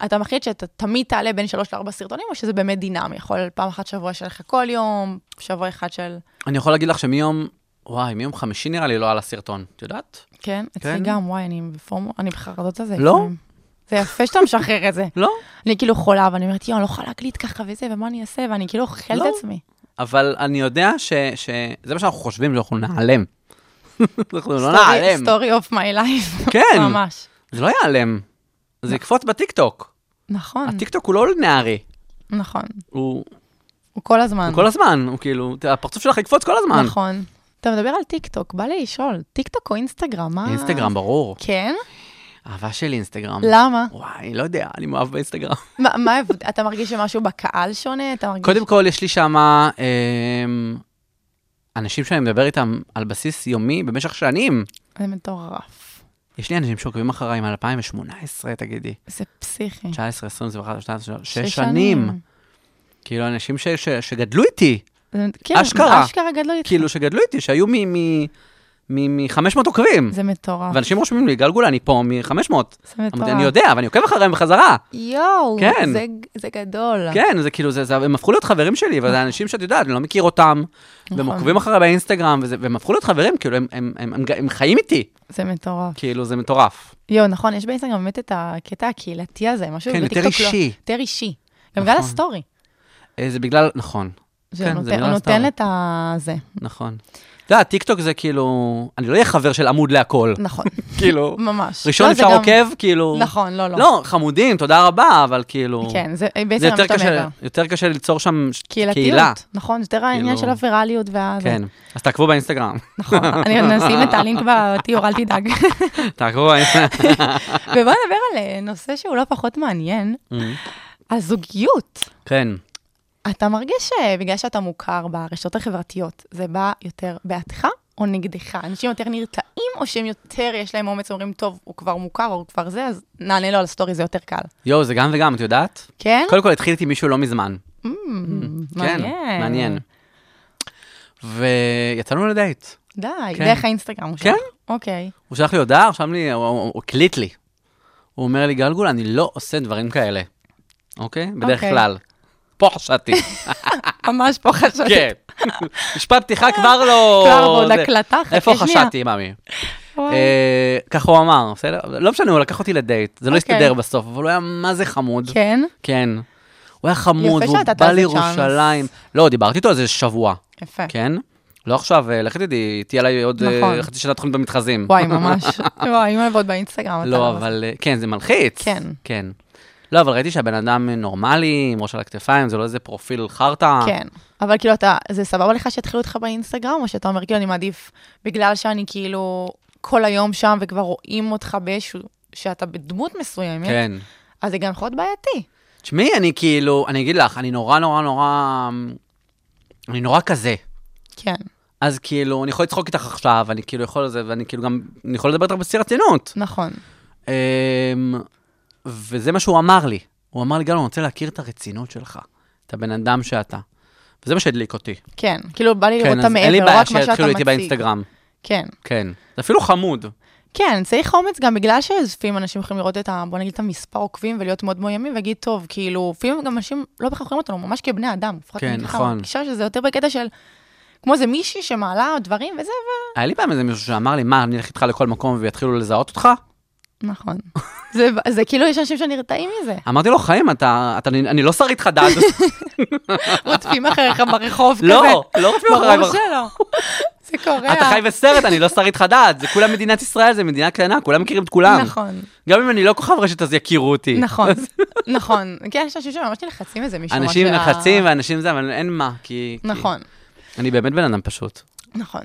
Speaker 4: אתה מחליט שאתה תמיד תעלה בין שלוש לארבע סרטונים, או שזה באמת דינמי? יכול פעם אחת שבוע שלך כל יום, שבוע אחד של...
Speaker 5: אני יכול להגיד לך שמיום, וואי, מיום חמישי נראה לי לא עלה סרטון, את יודעת?
Speaker 4: כן, אצלי
Speaker 5: כן.
Speaker 4: גם, וואי, אני בפורמו, אני בחרדות על זה.
Speaker 5: לא?
Speaker 4: לפעמים. זה יפה שאתה משחרר את זה.
Speaker 5: לא.
Speaker 4: אני כאילו חולה, ואני אומרת, יואו, אני לא יכולה להקליט ככה וזה, ומה אני אעשה, ואני כאילו אוכלת
Speaker 5: לא.
Speaker 4: את עצמי.
Speaker 5: אבל אני יודע ש... ש... זה מה שאנחנו חושבים, שאנחנו נעלם. אנחנו לא
Speaker 4: סטורי-
Speaker 5: נעלם.
Speaker 4: סטורי אוף מיי לייף.
Speaker 5: כן.
Speaker 4: ממש.
Speaker 5: זה לא ייעלם. זה יקפוץ בטיקטוק.
Speaker 4: נכון,
Speaker 5: הטיקטוק הוא לא לינארי.
Speaker 4: נכון.
Speaker 5: הוא...
Speaker 4: הוא כל הזמן.
Speaker 5: הוא כל הזמן, הוא כאילו, ת- הפרצוף שלך יקפוץ כל הזמן.
Speaker 4: נכון. אתה מדבר על טיקטוק, בא לי לשאול, טיקטוק או אינסטגרם? מה...
Speaker 5: אינסטגרם, ברור.
Speaker 4: כן?
Speaker 5: אהבה שלי אינסטגרם.
Speaker 4: למה?
Speaker 5: וואי, לא יודע, אני מאוהב באינסטגרם.
Speaker 4: מה, מה ההבד- אתה מרגיש שמשהו בקהל שונה? אתה מרגיש...
Speaker 5: קודם כל, יש לי שמה אמ, אנשים שאני מדבר איתם על בסיס יומי במשך שנים.
Speaker 4: זה מטורף.
Speaker 5: יש לי אנשים שעוקבים אחריי מ-2018, תגידי.
Speaker 4: זה פסיכי.
Speaker 5: 19, 20, 21, 22, 6
Speaker 4: שש
Speaker 5: שנים. כאילו, אנשים ש- ש- שגדלו איתי,
Speaker 4: זה- כן,
Speaker 5: אשכרה.
Speaker 4: אשכרה גדלו איתך.
Speaker 5: כאילו, שגדלו איתי, שהיו מ-500 עוקבים.
Speaker 4: זה מטורף.
Speaker 5: ואנשים רושמים לי, גל גול, אני פה מ-500.
Speaker 4: זה מטורף.
Speaker 5: אני יודע, ואני עוקב אחריהם בחזרה.
Speaker 4: יואו,
Speaker 5: כן.
Speaker 4: זה, זה גדול.
Speaker 5: כן, זה כאילו, זה, זה, הם הפכו להיות חברים שלי, וזה אנשים שאת יודעת, אני לא מכיר אותם, והם
Speaker 4: נכון.
Speaker 5: עוקבים אחרי באינסטגרם, וזה, והם הפכו להיות חברים, כאילו, הם, הם, הם, הם, הם חיים איתי,
Speaker 4: זה מטורף.
Speaker 5: כאילו, זה מטורף.
Speaker 4: יואו, נכון, יש באינסטגרם באמת את הקטע הקהילתי הזה, משהו
Speaker 5: כן, יותר
Speaker 4: בטיקטוק לא.
Speaker 5: אישי.
Speaker 4: יותר אישי. גם
Speaker 5: נכון.
Speaker 4: בגלל הסטורי.
Speaker 5: אה, זה בגלל, נכון,
Speaker 4: זה
Speaker 5: כן, זה
Speaker 4: נותן,
Speaker 5: בגלל
Speaker 4: הוא נותן
Speaker 5: הסטורי.
Speaker 4: את ה... זה.
Speaker 5: נכון. אתה יודע, טיקטוק זה כאילו, אני לא אהיה חבר של עמוד להכל,
Speaker 4: נכון,
Speaker 5: כאילו,
Speaker 4: ממש.
Speaker 5: ראשון
Speaker 4: לא, זה
Speaker 5: אפשר
Speaker 4: גם-
Speaker 5: עוקב, כאילו,
Speaker 4: נכון, לא, לא.
Speaker 5: לא, חמודים, תודה רבה, אבל כאילו,
Speaker 4: כן, זה בעצם
Speaker 5: זה יותר
Speaker 4: אתה מעבר.
Speaker 5: קשה, יותר קשה ליצור שם ש- קהילה.
Speaker 4: קהילתיות, נכון, יותר העניין של
Speaker 5: כאילו-
Speaker 4: הווירליות וה... זה.
Speaker 5: כן, אז תעקבו באינסטגרם,
Speaker 4: נכון, אני נשים את הלינק בתיאור, אל תדאג.
Speaker 5: תעקבו באינסטגרם.
Speaker 4: ובואו נדבר על אה, נושא שהוא לא פחות מעניין,
Speaker 5: Mm.
Speaker 4: על זוגיות.
Speaker 5: כן,
Speaker 4: אתה מרגיש שבגלל שאתה מוכר ברשתות החברתיות, זה בא יותר בעדך או נגדך? אנשים יותר נרתעים, או שהם יותר, יש להם אומץ, אומרים, טוב, הוא כבר מוכר, הוא כבר זה, אז נענה לו על סטורי, זה יותר קל.
Speaker 5: יואו, זה גם וגם, את יודעת?
Speaker 4: כן?
Speaker 5: קודם כל התחיל איתי מישהו לא מזמן.
Speaker 4: Mm,
Speaker 5: כן, מעניין. ויצאנו לדייט.
Speaker 4: די,
Speaker 5: כן.
Speaker 4: דרך האינסטגרם הוא שלך.
Speaker 5: כן.
Speaker 4: אוקיי.
Speaker 5: הוא שלח לי הודעה, הוא שם לי, הוא- הוא הוא הקליט לי. הוא אומר לי, גלגול, אני לא עושה דברים כאלה, אוקיי? בדרך
Speaker 4: אוקיי.
Speaker 5: כלל. פה חשדתי,
Speaker 4: ממש פה חשבתי.
Speaker 5: כן. משפט פתיחה כבר לא...
Speaker 4: כבר עוד
Speaker 5: זה-
Speaker 4: הקלטה, חכה
Speaker 5: איפה
Speaker 4: שנייה.
Speaker 5: חשדתי, מאמי?
Speaker 4: וואי.
Speaker 5: אה, ככה הוא אמר, בסדר? לא משנה, הוא לקח אותי לדייט, זה לא
Speaker 4: אוקיי.
Speaker 5: הסתדר בסוף, אבל הוא היה מה זה חמוד.
Speaker 4: כן?
Speaker 5: כן. הוא היה חמוד,
Speaker 4: יפה
Speaker 5: והוא
Speaker 4: שנתת
Speaker 5: בא
Speaker 4: לזה
Speaker 5: לירושלים. לא, דיברתי איתו על זה שבוע.
Speaker 4: יפה.
Speaker 5: כן? לא עכשיו, אה, לכי תדעי, תהיה עליי עוד אה,
Speaker 4: נכון.
Speaker 5: חצי שנה תוכנית במתחזים.
Speaker 4: וואי, ממש. וואי, אם אוהבות באינסטגרם. אתה
Speaker 5: לא, אבל... אה, כן, זה מלחיץ.
Speaker 4: כן.
Speaker 5: כן. לא, אבל ראיתי שהבן אדם אה, נורמלי, עם ראש על הכתפיים, זה לא איזה פרופיל חרטא.
Speaker 4: כן. אבל כאילו, אתה, זה סבבה לך שיתחילו אותך באינסטגרם, או שאתה אומר, כאילו, אני מעדיף, בגלל שאני כאילו כל היום שם וכבר רואים אותך באיזשהו, שאתה בדמות מסוימת,
Speaker 5: כן.
Speaker 4: אז זה גם יכול להיות בעייתי.
Speaker 5: תשמעי, אני כאילו, אני אגיד לך, אני נורא נורא נורא... אני נורא כזה.
Speaker 4: כן.
Speaker 5: אז כאילו, אני יכול לצחוק איתך עכשיו, אני כאילו יכול לזה, ואני כאילו גם, אני יכול לדבר איתך בשיא רצינות.
Speaker 4: נכון.
Speaker 5: אמ, וזה מה שהוא אמר לי. הוא אמר לי, גל, אני רוצה להכיר את הרצינות שלך, את הבן אדם שאתה. וזה מה שהדליק אותי.
Speaker 4: כן. כאילו, בא לי לראות
Speaker 5: כן,
Speaker 4: אותה
Speaker 5: אז
Speaker 4: מעבר,
Speaker 5: אין לי
Speaker 4: לא רק
Speaker 5: בעיה
Speaker 4: מה שאתה מציג.
Speaker 5: שיתחילו איתי באינסטגרם.
Speaker 4: כן.
Speaker 5: כן. זה אפילו חמוד.
Speaker 4: כן, צריך אומץ גם בגלל שלפעמים אנשים יכולים לראות את ה... בוא נגיד את המספר עוקבים ולהיות מאוד מאוימים ולהגיד, טוב, כאילו, לפעמים גם אנשים לא בהכרח רואים אותנו ממש כבני אדם. לפחות
Speaker 5: כן,
Speaker 4: אני ככה
Speaker 5: נכון.
Speaker 4: מרגישה שזה יותר בקטע של... כמו איזה מישהי שמעלה דברים וזה,
Speaker 5: היה לי פעם איזה מישהו שאמר לי, מה, אני אלך איתך לכל מקום ויתחילו לזהות אותך?
Speaker 4: ו... נכון. זה, זה כאילו, יש אנשים שנרתעים מזה.
Speaker 5: אמרתי לו, חיים, אתה, אתה, אני אני לא שרית חדד.
Speaker 4: רודפים אחריך ברחוב כזה.
Speaker 5: לא, לא רודפים אחריי
Speaker 4: ברור אה.
Speaker 5: ברחוב.
Speaker 4: שלא. זה קורה.
Speaker 5: אתה חי בסרט, אני לא שרית חדד. זה כולה מדינת ישראל, זה מדינה קטנה, כולם מכירים את כולם.
Speaker 4: נכון,
Speaker 5: גם אם אני לא כוכב רשת, אז יכירו אותי.
Speaker 4: נכון, נכון. כן, יש אנשים שממש נלחצים מזה משום מה
Speaker 5: אנשים
Speaker 4: של ה-
Speaker 5: לחצים ואנשים זה, אבל אין מה, כי... כי-
Speaker 4: נכון.
Speaker 5: אני באמת בן אדם פשוט.
Speaker 4: נכון.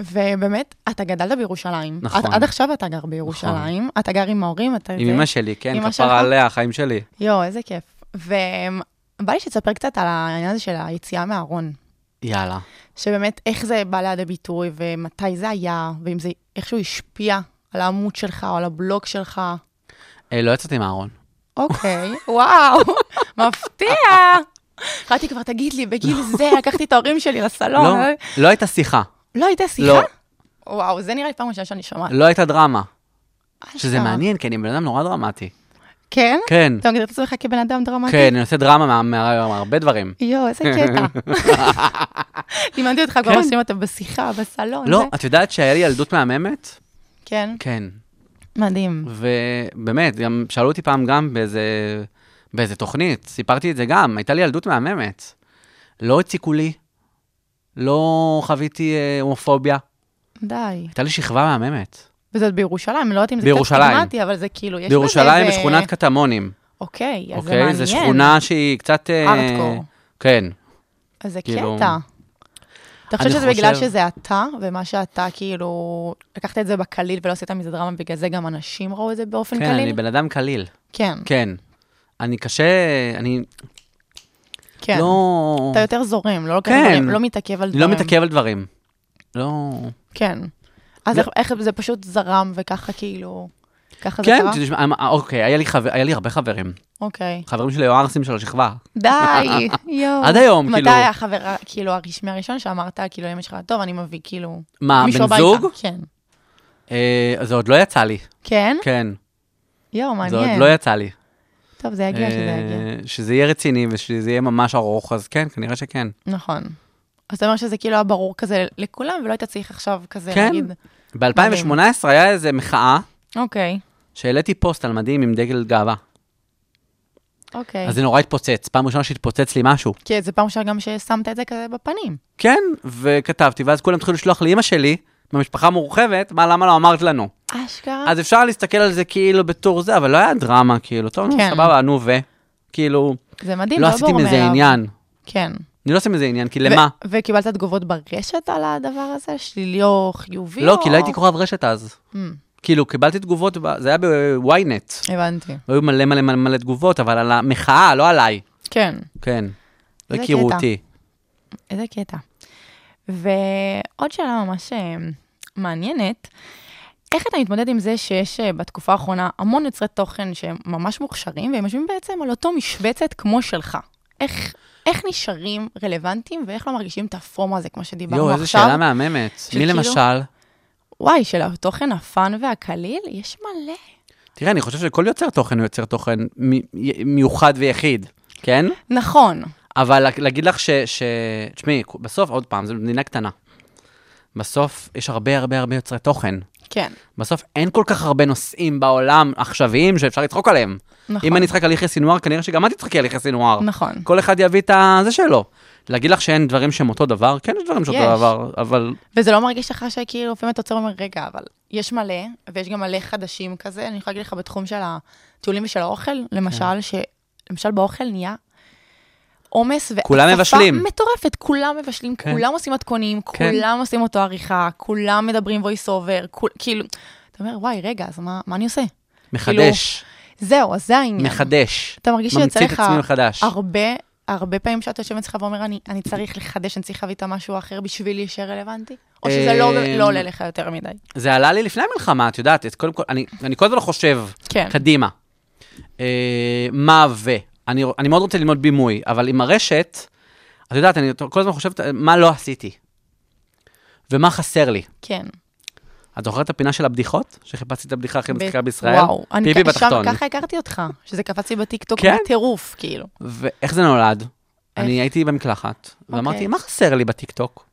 Speaker 4: ובאמת, אתה גדלת בירושלים.
Speaker 5: נכון.
Speaker 4: את, עד עכשיו אתה גר בירושלים, נכון. אתה גר עם ההורים, אתה...
Speaker 5: עם אמא שלי, כן,
Speaker 4: אוקיי. אמא שלך?
Speaker 5: כפרה עליה, החיים שלי.
Speaker 4: יואו, איזה כיף. ובא לי שתספר קצת על העניין הזה של היציאה מהארון.
Speaker 5: יאללה.
Speaker 4: שבאמת, איך זה בא לידי ביטוי, ומתי זה היה, ואם זה איכשהו השפיע על העמוד שלך או על הבלוג שלך.
Speaker 5: אה, לא יצאתי מהארון.
Speaker 4: אוקיי, וואו, מפתיע. חשבתי כבר, תגיד לי, בגיל זה לקחתי את ההורים שלי
Speaker 5: לא,
Speaker 4: לסלון.
Speaker 5: לא הייתה שיחה,
Speaker 4: לא הייתה אה? שיחה?
Speaker 5: לא.
Speaker 4: וואו, זה נראה לי פעם ראשונה שאני שומעת. אה,
Speaker 5: לא הייתה דרמה. לא, שזה
Speaker 4: אשכרה.
Speaker 5: מעניין, כי אני בן אדם נורא דרמטי.
Speaker 4: כן?
Speaker 5: כן,
Speaker 4: אתה מגדיר את עצמך כבן אדם דרמטי?
Speaker 5: כן, אני עושה דרמה מה- מה- מהרבה דברים.
Speaker 4: יואו, איזה קטע. לימדתי אותך כבר
Speaker 5: כן.
Speaker 4: עושים אותה בשיחה, בסלון.
Speaker 5: לא,
Speaker 4: זה.
Speaker 5: את יודעת שהיה לי ילדות מהממת?
Speaker 4: כן,
Speaker 5: כן.
Speaker 4: מדהים.
Speaker 5: ובאמת, גם שאלו אותי פעם גם באיזה, באיזה תוכנית, סיפרתי את זה גם, הייתה לי ילדות מהממת. לא הציקו לי, לא חוויתי אה, הומופוביה,
Speaker 4: די.
Speaker 5: הייתה לי שכבה מהממת.
Speaker 4: וזאת בירושלים, לא יודעת אם זה קצת
Speaker 5: בירושלים.
Speaker 4: דרמטי, אבל זה כאילו, יש בזה
Speaker 5: בירושלים,
Speaker 4: איזה-
Speaker 5: בשכונת קטמונים,
Speaker 4: אוקיי, אז זה
Speaker 5: אוקיי?
Speaker 4: מעניין.
Speaker 5: זו שכונה שהיא קצת... אה,
Speaker 4: ארטקור.
Speaker 5: כן.
Speaker 4: איזה
Speaker 5: כאילו-
Speaker 4: קטע. אתה חושב
Speaker 5: אני
Speaker 4: שזה בגלל
Speaker 5: חושב-
Speaker 4: שזה אתה, ומה שאתה כאילו, לקחת את זה בקליל ולא עשית מזה דרמה, בגלל זה גם אנשים ראו את זה באופן
Speaker 5: כן, אני
Speaker 4: קליל?
Speaker 5: בן אדם קליל.
Speaker 4: כן,
Speaker 5: כן. אני קשה, אני
Speaker 4: כן.
Speaker 5: לא...
Speaker 4: אתה יותר זורם, לא לוקח
Speaker 5: כן.
Speaker 4: דברים, לא מתעכב על
Speaker 5: אני
Speaker 4: דברים.
Speaker 5: לא מתעכב על דברים. לא...
Speaker 4: כן. אז
Speaker 5: לא-
Speaker 4: איך- איך זה פשוט זרם וככה כאילו, ככה זה
Speaker 5: כן,
Speaker 4: קרה?
Speaker 5: תשמע, אה, אוקיי, היה לי חבר- היה לי הרבה חברים.
Speaker 4: אוקיי.
Speaker 5: חברים שלי היו ערסים של השכבה.
Speaker 4: די, יואו.
Speaker 5: עד היום, כאילו.
Speaker 4: מתי היה החבר, כאילו, הרשמי הראשון שאמרת, כאילו, לאמא שלך, טוב, אני מביא, כאילו,
Speaker 5: מה,
Speaker 4: מישהו
Speaker 5: בן
Speaker 4: הביתה."
Speaker 5: זוג?
Speaker 4: כן.
Speaker 5: אה, זה עוד לא יצא לי.
Speaker 4: כן?
Speaker 5: כן,
Speaker 4: יואו,
Speaker 5: זה עוד
Speaker 4: מעניין.
Speaker 5: לא יצא לי.
Speaker 4: טוב, זה יגיע, שזה יגיע.
Speaker 5: אה, שזה יהיה רציני ושזה יהיה ממש ארוך, אז כן, כנראה שכן.
Speaker 4: נכון. אז אתה אומר שזה כאילו היה ברור כזה לכולם, ולא היית צריך עכשיו כזה
Speaker 5: כן.
Speaker 4: להגיד,
Speaker 5: ב-2018 היה איזה מחאה
Speaker 4: אוקיי,
Speaker 5: שהעליתי פוסט על מדים עם דגל גאווה.
Speaker 4: אוקיי.
Speaker 5: אז זה נורא התפוצץ, פעם ראשונה שהתפוצץ לי משהו.
Speaker 4: כי זה פעם ראשונה גם ששמת את זה כזה בפנים.
Speaker 5: כן, וכתבתי, ואז כולם התחילו לשלוח לאימא שלי, במשפחה מורחבת, מה, למה לא אמרת לנו?
Speaker 4: אה. אשכרה.
Speaker 5: אז אפשר להסתכל על זה כאילו בתור זה, אבל לא היה דרמה, כאילו, טוב, נו,
Speaker 4: כן.
Speaker 5: סבבה, נו, ו... כאילו,
Speaker 4: זה מדהים,
Speaker 5: לא
Speaker 4: לא
Speaker 5: עשיתי
Speaker 4: ברור
Speaker 5: מזה
Speaker 4: מאליו.
Speaker 5: עניין.
Speaker 4: כן.
Speaker 5: אני לא עושה מזה עניין, כי למה?
Speaker 4: ו- וקיבלת תגובות ברשת על הדבר הזה? שלילי או חיובי?
Speaker 5: לא,
Speaker 4: או-
Speaker 5: כי לא הייתי כוכב רשת אז.
Speaker 4: Hmm,
Speaker 5: כאילו, קיבלתי תגובות, ב- זה היה בוויינט.
Speaker 4: הבנתי.
Speaker 5: היו מלא מלא מלא מלא תגובות, אבל על המחאה, לא עליי.
Speaker 4: כן.
Speaker 5: כן. לא
Speaker 4: איזה
Speaker 5: הכירו
Speaker 4: קטע.
Speaker 5: אותי.
Speaker 4: איזה קטע. ועוד שאלה ממש אה, מעניינת, איך אתה מתמודד עם זה שיש אה, בתקופה האחרונה המון יוצרי תוכן שהם ממש מוכשרים, והם יושבים בעצם על אותו משבצת כמו שלך? איך, איך נשארים רלוונטיים ואיך לא מרגישים את הפורמה הזה, כמו שדיברנו
Speaker 5: יואו,
Speaker 4: עכשיו?
Speaker 5: איזו שאלה מהממת. מי
Speaker 4: שכאילו-
Speaker 5: למשל?
Speaker 4: וואי, של התוכן הפאן והקליל, יש מלא.
Speaker 5: תראה, אני חושב שכל יוצר תוכן הוא יוצר תוכן מ- י- מיוחד ויחיד, כן?
Speaker 4: נכון,
Speaker 5: אבל לה- להגיד לך ש... ש- תשמעי, בסוף, עוד פעם, זו מדינה קטנה. בסוף יש הרבה הרבה הרבה יוצרי תוכן.
Speaker 4: כן,
Speaker 5: בסוף אין כל כך הרבה נושאים בעולם עכשוויים שאפשר לצחוק עליהם.
Speaker 4: נכון.
Speaker 5: אם אני אצחק על יחיא סינואר, כנראה שגם את תצחקי על יחיא סינואר.
Speaker 4: נכון.
Speaker 5: כל אחד יביא את הזה שלו. להגיד לך שאין דברים שהם אותו דבר? כן, יש דברים שהם אותו
Speaker 4: יש.
Speaker 5: דבר, אבל
Speaker 4: וזה לא מרגיש לך שכאילו לפעמים אתה עוצר ואומר, רגע, אבל יש מלא, ויש גם מלא חדשים כזה, אני יכולה להגיד לך בתחום של הטיולים ושל האוכל, למשל,
Speaker 5: כן.
Speaker 4: ש... למשל באוכל נהיה עומס
Speaker 5: כולם מבשלים.
Speaker 4: מטורפת, כולם מבשלים,
Speaker 5: כן.
Speaker 4: כולם עושים מתכונים,
Speaker 5: כן.
Speaker 4: כולם עושים אותו עריכה, כולם מדברים voice over, כול, כאילו, אתה אומר, וואי, רגע, אז מה, מה אני עושה?
Speaker 5: מחדש,
Speaker 4: זהו, אז זה העניין.
Speaker 5: מחדש.
Speaker 4: כן. אתה מרגיש שיוצא
Speaker 5: ממציא את
Speaker 4: לך
Speaker 5: עצמי מחדש.
Speaker 4: הרבה, הרבה פעמים שאתה יושב אצלך ואומר, אני, אני צריך לחדש, אני צריך להביא את המשהו האחר בשביל להישאר רלוונטי? או שזה לא,
Speaker 5: אמ,
Speaker 4: לא עולה לך יותר מדי?
Speaker 5: זה עלה לי לפני המלחמה, את יודעת, את קודם כל, אני, אני כל הזמן חושב,
Speaker 4: כן.
Speaker 5: קדימה. אה, מה ו? אני, אני מאוד רוצה ללמוד בימוי, אבל עם הרשת, את יודעת, אני כל הזמן חושבת אה, מה לא עשיתי, ומה חסר לי.
Speaker 4: כן.
Speaker 5: את זוכרת את הפינה של הבדיחות? שחיפשתי את הבדיחה הכי מצחיקה
Speaker 4: ב-
Speaker 5: בישראל?
Speaker 4: וואו, אני
Speaker 5: פיפי
Speaker 4: כ- שם
Speaker 5: בתחתון.
Speaker 4: ככה הכרתי אותך, שזה קפץ לי בטיקטוק
Speaker 5: כן?
Speaker 4: בטירוף, כאילו.
Speaker 5: ואיך זה נולד? אני הייתי במקלחת,
Speaker 4: אוקיי.
Speaker 5: ואמרתי, מה חסר לי בטיקטוק?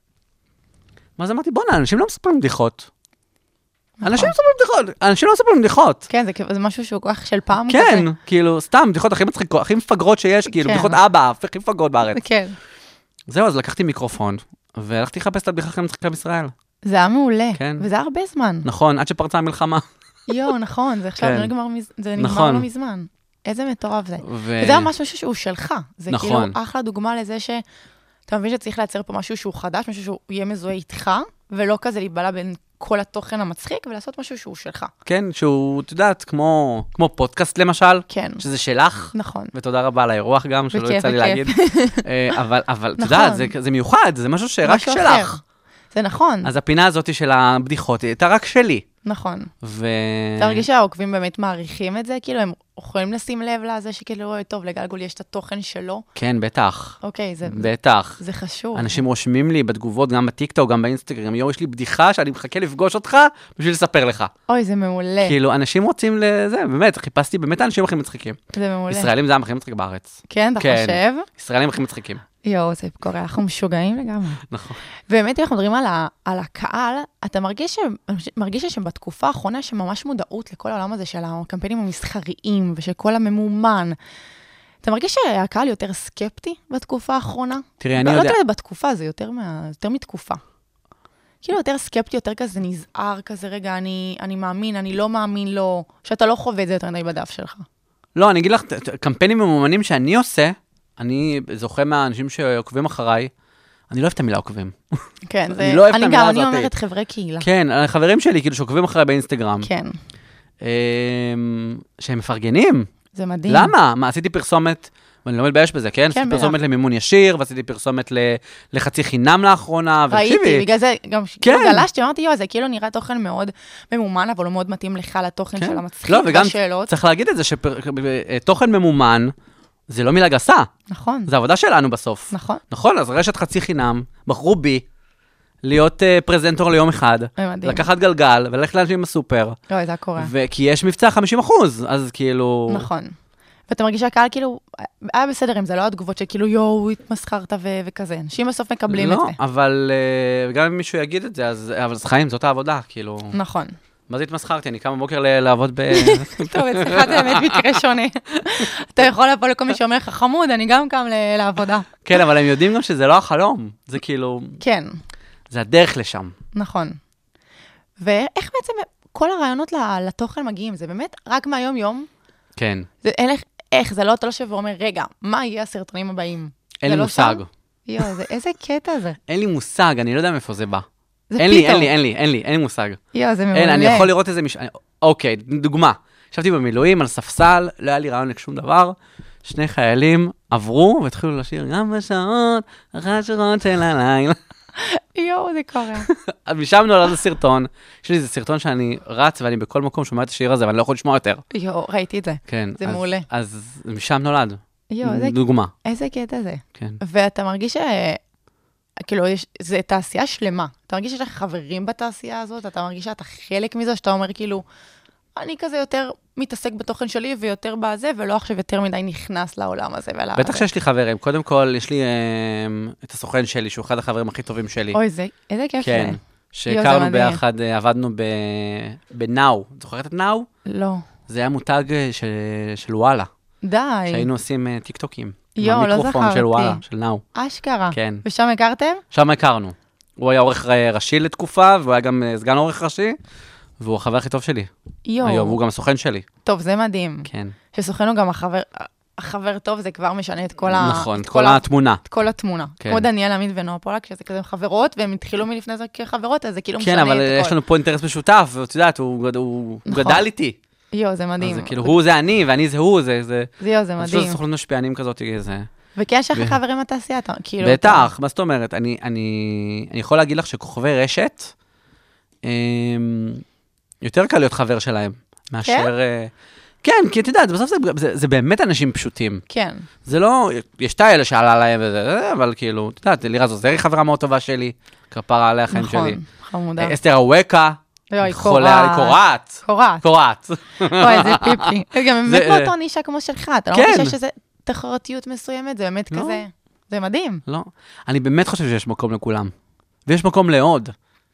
Speaker 5: ואז אמרתי, בואנה, אנשים לא מספרים בדיחות.
Speaker 4: נכון.
Speaker 5: אנשים לא מספרים בדיחות, אנשים לא מספרים בדיחות.
Speaker 4: כן, זה, כ- זה משהו שהוא כל כך של פעם כזה.
Speaker 5: כן, כאילו, סתם, בדיחות הכי מצחיקות, הכי מפגרות שיש, כאילו,
Speaker 4: כן.
Speaker 5: בדיחות אבא, הכי מפגרות בארץ.
Speaker 4: כן.
Speaker 5: זהו, אז לקחתי מיקרופון, והלכתי לחפש את הבדיחה הכי מצחיקה בישראל.
Speaker 4: זה היה מעולה,
Speaker 5: כן.
Speaker 4: וזה היה הרבה זמן.
Speaker 5: נכון, עד שפרצה המלחמה.
Speaker 4: יואו, נכון, זה עכשיו
Speaker 5: כן.
Speaker 4: לא נגמר, מז... זה נגמר
Speaker 5: נכון.
Speaker 4: לא מזמן. איזה מטורף זה.
Speaker 5: ו-
Speaker 4: וזה ממש משהו שהוא שלך. זה
Speaker 5: נכון.
Speaker 4: כאילו אחלה דוגמה לזה שאתה מבין שצריך לייצר פה משהו שהוא חדש, משהו שהוא יהיה מזוהה איתך, ולא כזה להיבלע בין כל התוכן המצחיק, ולעשות משהו שהוא שלך.
Speaker 5: כן, שהוא, את יודעת, כמו כמו פודקאסט למשל,
Speaker 4: כן.
Speaker 5: שזה שלך.
Speaker 4: נכון.
Speaker 5: ותודה רבה על האירוח גם, שלא
Speaker 4: בכיף,
Speaker 5: יצא לי להגיד.
Speaker 4: בכיף.
Speaker 5: אה, אבל, אבל, את
Speaker 4: נכון.
Speaker 5: יודעת, זה- זה מיוחד, זה משהו שרק
Speaker 4: משהו אחר.
Speaker 5: שלך.
Speaker 4: זה נכון,
Speaker 5: אז אה. הפינה הזאת של הבדיחות היא הייתה רק שלי.
Speaker 4: נכון.
Speaker 5: ו...
Speaker 4: אתה מרגיש שהעוקבים באמת מעריכים את זה? כאילו, הם יכולים לשים לב לזה שכאילו, "אוי, טוב, לגלגול יש את התוכן שלו?
Speaker 5: כן, בטח.
Speaker 4: אוקיי, זה- זה-
Speaker 5: בטח.
Speaker 4: זה חשוב.
Speaker 5: אנשים רושמים לי בתגובות, גם בטיקטוק, גם באינסטגרם, יואו, יש לי בדיחה שאני מחכה לפגוש אותך בשביל לספר לך.
Speaker 4: אוי, זה מעולה.
Speaker 5: כאילו, אנשים רוצים לזה, באמת, חיפשתי באמת האנשים הכי מצחיקים.
Speaker 4: זה מעולה.
Speaker 5: ישראלים זה העם הכי מצחיק בארץ.
Speaker 4: כן, אתה
Speaker 5: כאילו, כן.
Speaker 4: חושב?
Speaker 5: ישראלים הכי מצחיקים.
Speaker 4: יואו, זה קורה, אנחנו משוגעים לגמרי.
Speaker 5: נכון.
Speaker 4: באמת, אם אנחנו מדברים על, ה, על הקהל, אתה מרגיש, ש- מרגיש שבתקופה האחרונה יש ממש מודעות לכל העולם הזה של הקמפיינים המסחריים ושל כל הממומן. אתה מרגיש שהקהל יותר סקפטי בתקופה האחרונה?
Speaker 5: תראי, אני
Speaker 4: לא
Speaker 5: יודע-
Speaker 4: לא יותר בתקופה, זה יותר, מה, יותר מתקופה. כאילו יותר סקפטי, יותר כזה נזהר, כזה, רגע, אני, אני מאמין, אני לא מאמין לו, שאתה לא חווה את זה יותר מדי בדף שלך.
Speaker 5: לא, אני אגיד לך, ת- ת- קמפיינים ממומנים שאני עושה, אני זוכה מהאנשים שעוקבים אחריי, אני לא אוהב את המילה עוקבים.
Speaker 4: כן,
Speaker 5: אני
Speaker 4: זה...
Speaker 5: לא אוהב את
Speaker 4: אני
Speaker 5: המילה
Speaker 4: גם, אני
Speaker 5: הזאת.
Speaker 4: אומרת חברי קהילה.
Speaker 5: כן, החברים שלי כאילו שעוקבים אחריי באינסטגרם.
Speaker 4: כן,
Speaker 5: אמ, שהם מפרגנים.
Speaker 4: זה מדהים.
Speaker 5: למה? מה, עשיתי פרסומת, ואני לא מתבייש בזה, כן? עשיתי
Speaker 4: בטח.
Speaker 5: פרסומת למימון ישיר, ועשיתי פרסומת ל- לחצי חינם לאחרונה,
Speaker 4: ראיתי,
Speaker 5: ותקשיבי,
Speaker 4: בגלל זה גם ש-
Speaker 5: כן.
Speaker 4: כאילו גלשתי, אמרתי, יואו, זה כאילו נראה תוכן מאוד ממומן, אבל הוא מאוד מתאים לך לתוכן
Speaker 5: כן.
Speaker 4: של המצחיק
Speaker 5: לא, וגם
Speaker 4: והשאלות.
Speaker 5: צריך להגיד את זה, שתוכן ממומן, זה לא מילה גסה,
Speaker 4: נכון,
Speaker 5: זה עבודה שלנו בסוף.
Speaker 4: נכון,
Speaker 5: נכון, אז רשת חצי חינם, בחרו בי להיות אה, פרזנטור ליום אחד,
Speaker 4: זה מדהים.
Speaker 5: לקחת גלגל וללכת לאנשים בסופר,
Speaker 4: לא, זה הקורא.
Speaker 5: וכי יש מבצע 50 אחוז, אז כאילו...
Speaker 4: נכון. ואתה מרגיש שהקהל כאילו, היה בסדר אם זה לא התגובות שכאילו, יואו, התמסחרת ו- וכזה. אנשים בסוף מקבלים את
Speaker 5: לא,
Speaker 4: זה.
Speaker 5: אבל אה, גם אם מישהו יגיד את זה, אז אבל זה חיים, זאת העבודה, כאילו.
Speaker 4: נכון.
Speaker 5: מה זה התמסחרתי? אני קם בבוקר ל- לעבוד ב...
Speaker 4: טוב, אצלך זה באמת מקרה שונה. אתה יכול לבוא לכל מי שאומר לך, חמוד, אני גם קם ל- לעבודה.
Speaker 5: כן, אבל הם יודעים גם שזה לא החלום. זה כאילו,
Speaker 4: כן,
Speaker 5: זה הדרך לשם.
Speaker 4: נכון. ואיך בעצם כל הרעיונות ל- לתוכן מגיעים? זה באמת רק מהיום-יום?
Speaker 5: כן.
Speaker 4: זה אין לך, איך, זה לא, אתה לא שב ואומר, רגע, מה יהיה הסרטונים הבאים?
Speaker 5: אין
Speaker 4: זה
Speaker 5: לי
Speaker 4: לא
Speaker 5: מושג.
Speaker 4: שם? יואו, זה- איזה קטע זה.
Speaker 5: אין לי מושג, אני לא יודע מאיפה זה בא.
Speaker 4: זה
Speaker 5: אין לי,
Speaker 4: פתאום.
Speaker 5: אין לי, אין לי, אין לי, אין לי מושג.
Speaker 4: יואו, זה מעולה.
Speaker 5: אין, אני יכול לראות איזה מש... אני- אוקיי, דוגמה. ישבתי במילואים על ספסל, לא היה לי רעיון לשום דבר. שני חיילים עברו והתחילו לשיר גם בשעות החשוכות של הלילה.
Speaker 4: יואו, זה קורה.
Speaker 5: אז משם נולד הסרטון. יש לי איזה סרטון שאני רץ ואני בכל מקום שומע את השיר הזה ואני לא יכול לשמוע יותר.
Speaker 4: יואו, ראיתי את זה.
Speaker 5: כן.
Speaker 4: זה
Speaker 5: אז-
Speaker 4: מעולה.
Speaker 5: אז משם נולד.
Speaker 4: יואו, זה- אה,
Speaker 5: דוגמה.
Speaker 4: איזה קטע זה.
Speaker 5: כן.
Speaker 4: ואתה מרגיש ש... כאילו, יש, זה תעשייה שלמה. אתה מרגיש שיש לך חברים בתעשייה הזאת? אתה מרגיש שאתה חלק מזה, שאתה אומר כאילו, אני כזה יותר מתעסק בתוכן שלי ויותר בזה, ולא עכשיו יותר מדי נכנס לעולם הזה. ול...
Speaker 5: בטח שיש לי חברים. קודם כל, יש לי אמ, את הסוכן שלי, שהוא אחד החברים הכי טובים שלי.
Speaker 4: אוי, זה, איזה כיף
Speaker 5: כן.
Speaker 4: זה. יואו, זה
Speaker 5: שהכרנו
Speaker 4: מדהים.
Speaker 5: ביחד, אה, עבדנו ב- בנאו. את זוכרת את נאו?
Speaker 4: לא.
Speaker 5: זה היה מותג אה, של- של וואלה,
Speaker 4: די.
Speaker 5: שהיינו עושים אה, טיקטוקים. עם
Speaker 4: יואו, לא
Speaker 5: המיקרופון של
Speaker 4: זכרתי.
Speaker 5: וואלה, של נאו.
Speaker 4: אשכרה.
Speaker 5: כן.
Speaker 4: ושם הכרתם?
Speaker 5: שם הכרנו. הוא היה עורך אה, ראשי לתקופה, והוא היה גם אה, סגן עורך ראשי, והוא החבר הכי טוב שלי.
Speaker 4: יואו.
Speaker 5: היום, הוא גם הסוכן שלי.
Speaker 4: טוב, זה מדהים.
Speaker 5: כן.
Speaker 4: שסוכנו גם החבר, החבר טוב, זה כבר משנה את כל ה...
Speaker 5: נכון,
Speaker 4: את
Speaker 5: את כל התמונה.
Speaker 4: את כל התמונה.
Speaker 5: כן.
Speaker 4: כמו דניאל עמית ונועה פולק, שזה כזה חברות, והן התחילו מלפני זה כחברות, אז זה כאילו
Speaker 5: כן,
Speaker 4: משנה
Speaker 5: אבל
Speaker 4: את
Speaker 5: יש
Speaker 4: הכל.
Speaker 5: לנו פה אינטרס משותף, ואת יודעת, הוא גד- הוא הוא
Speaker 4: נכון.
Speaker 5: גדל איתי.
Speaker 4: יואו, זה מדהים.
Speaker 5: אז זה כאילו, הוא זה אני, ואני זה הוא, זה... זה
Speaker 4: זה יואו, זה
Speaker 5: אני חושב שזו
Speaker 4: מדהים.
Speaker 5: סוכנות משפיענים כזאת, זה...
Speaker 4: וכן, יש לך
Speaker 5: ו-
Speaker 4: חברים בתעשייה, אתה כאילו...
Speaker 5: בטח, מה זאת אומרת? אני, אני, אני יכול להגיד לך שכוכבי רשת, אמ, יותר קל להיות חבר שלהם, מאשר... אה, כן, כי את יודעת, בסוף זה, זה, זה באמת אנשים פשוטים.
Speaker 4: אתה- כן,
Speaker 5: זה לא, יש את האלה שעלה להם וזה, זה, אבל כאילו, את יודעת, לירז עוזרי חברה מאוד טובה שלי, כפרה עליה חיים
Speaker 4: נכון,
Speaker 5: שלי.
Speaker 4: חמודה.
Speaker 5: אה, אסתר אווקה,
Speaker 4: לא, היא
Speaker 5: חולה,
Speaker 4: קורעת.
Speaker 5: היא
Speaker 4: קורעת.
Speaker 5: קורעת, קורעת.
Speaker 4: אוי, איזה פיפי. זה גם
Speaker 5: זה,
Speaker 4: באמת
Speaker 5: אה,
Speaker 4: באותו נישה כמו שלך, אתה לא
Speaker 5: כן.
Speaker 4: מרגיש שיש איזו תחרותיות מסוימת, זה באמת
Speaker 5: לא.
Speaker 4: כזה... זה מדהים.
Speaker 5: לא, אני באמת חושב שיש מקום לכולם. ויש מקום לעוד.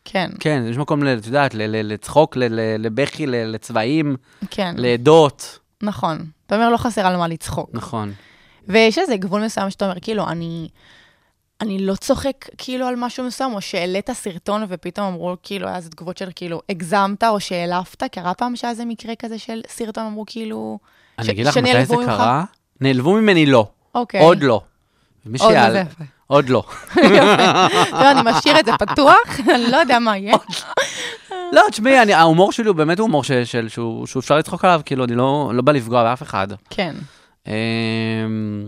Speaker 4: כן,
Speaker 5: כן, יש מקום, ל- את יודעת, ל- ל- לצחוק, ל- ל- לבכי, ל- לצבעים,
Speaker 4: כן,
Speaker 5: לעדות.
Speaker 4: נכון. אתה אומר, לא חסר על מה לצחוק.
Speaker 5: נכון.
Speaker 4: ויש איזה גבול מסוים שאתה אומר, כאילו, אני, אני לא צוחק כאילו על משהו מסוים, או שהעלית סרטון ופתאום אמרו, כאילו, היה איזה תגובות של כאילו, הגזמת או שהעלבת, קרה פעם שהיה איזה מקרה כזה של סרטון, אמרו כאילו... ש-
Speaker 5: אני אגיד לך מתי זה
Speaker 4: שנעלבו ממך?
Speaker 5: קרה. נעלבו ממני לא,
Speaker 4: אוקיי.
Speaker 5: עוד לא. מי
Speaker 4: עוד לא,
Speaker 5: שיעל-
Speaker 4: זה יפה.
Speaker 5: עוד לא.
Speaker 4: לא, אני משאיר את זה פתוח, אני לא יודע מה יהיה.
Speaker 5: לא, תשמעי, אני- ההומור שלי הוא באמת הומור ש- של- שהוא שהוא אפשר לצחוק עליו, כאילו, אני לא לא בא לפגוע באף אחד.
Speaker 4: כן.
Speaker 5: אמ,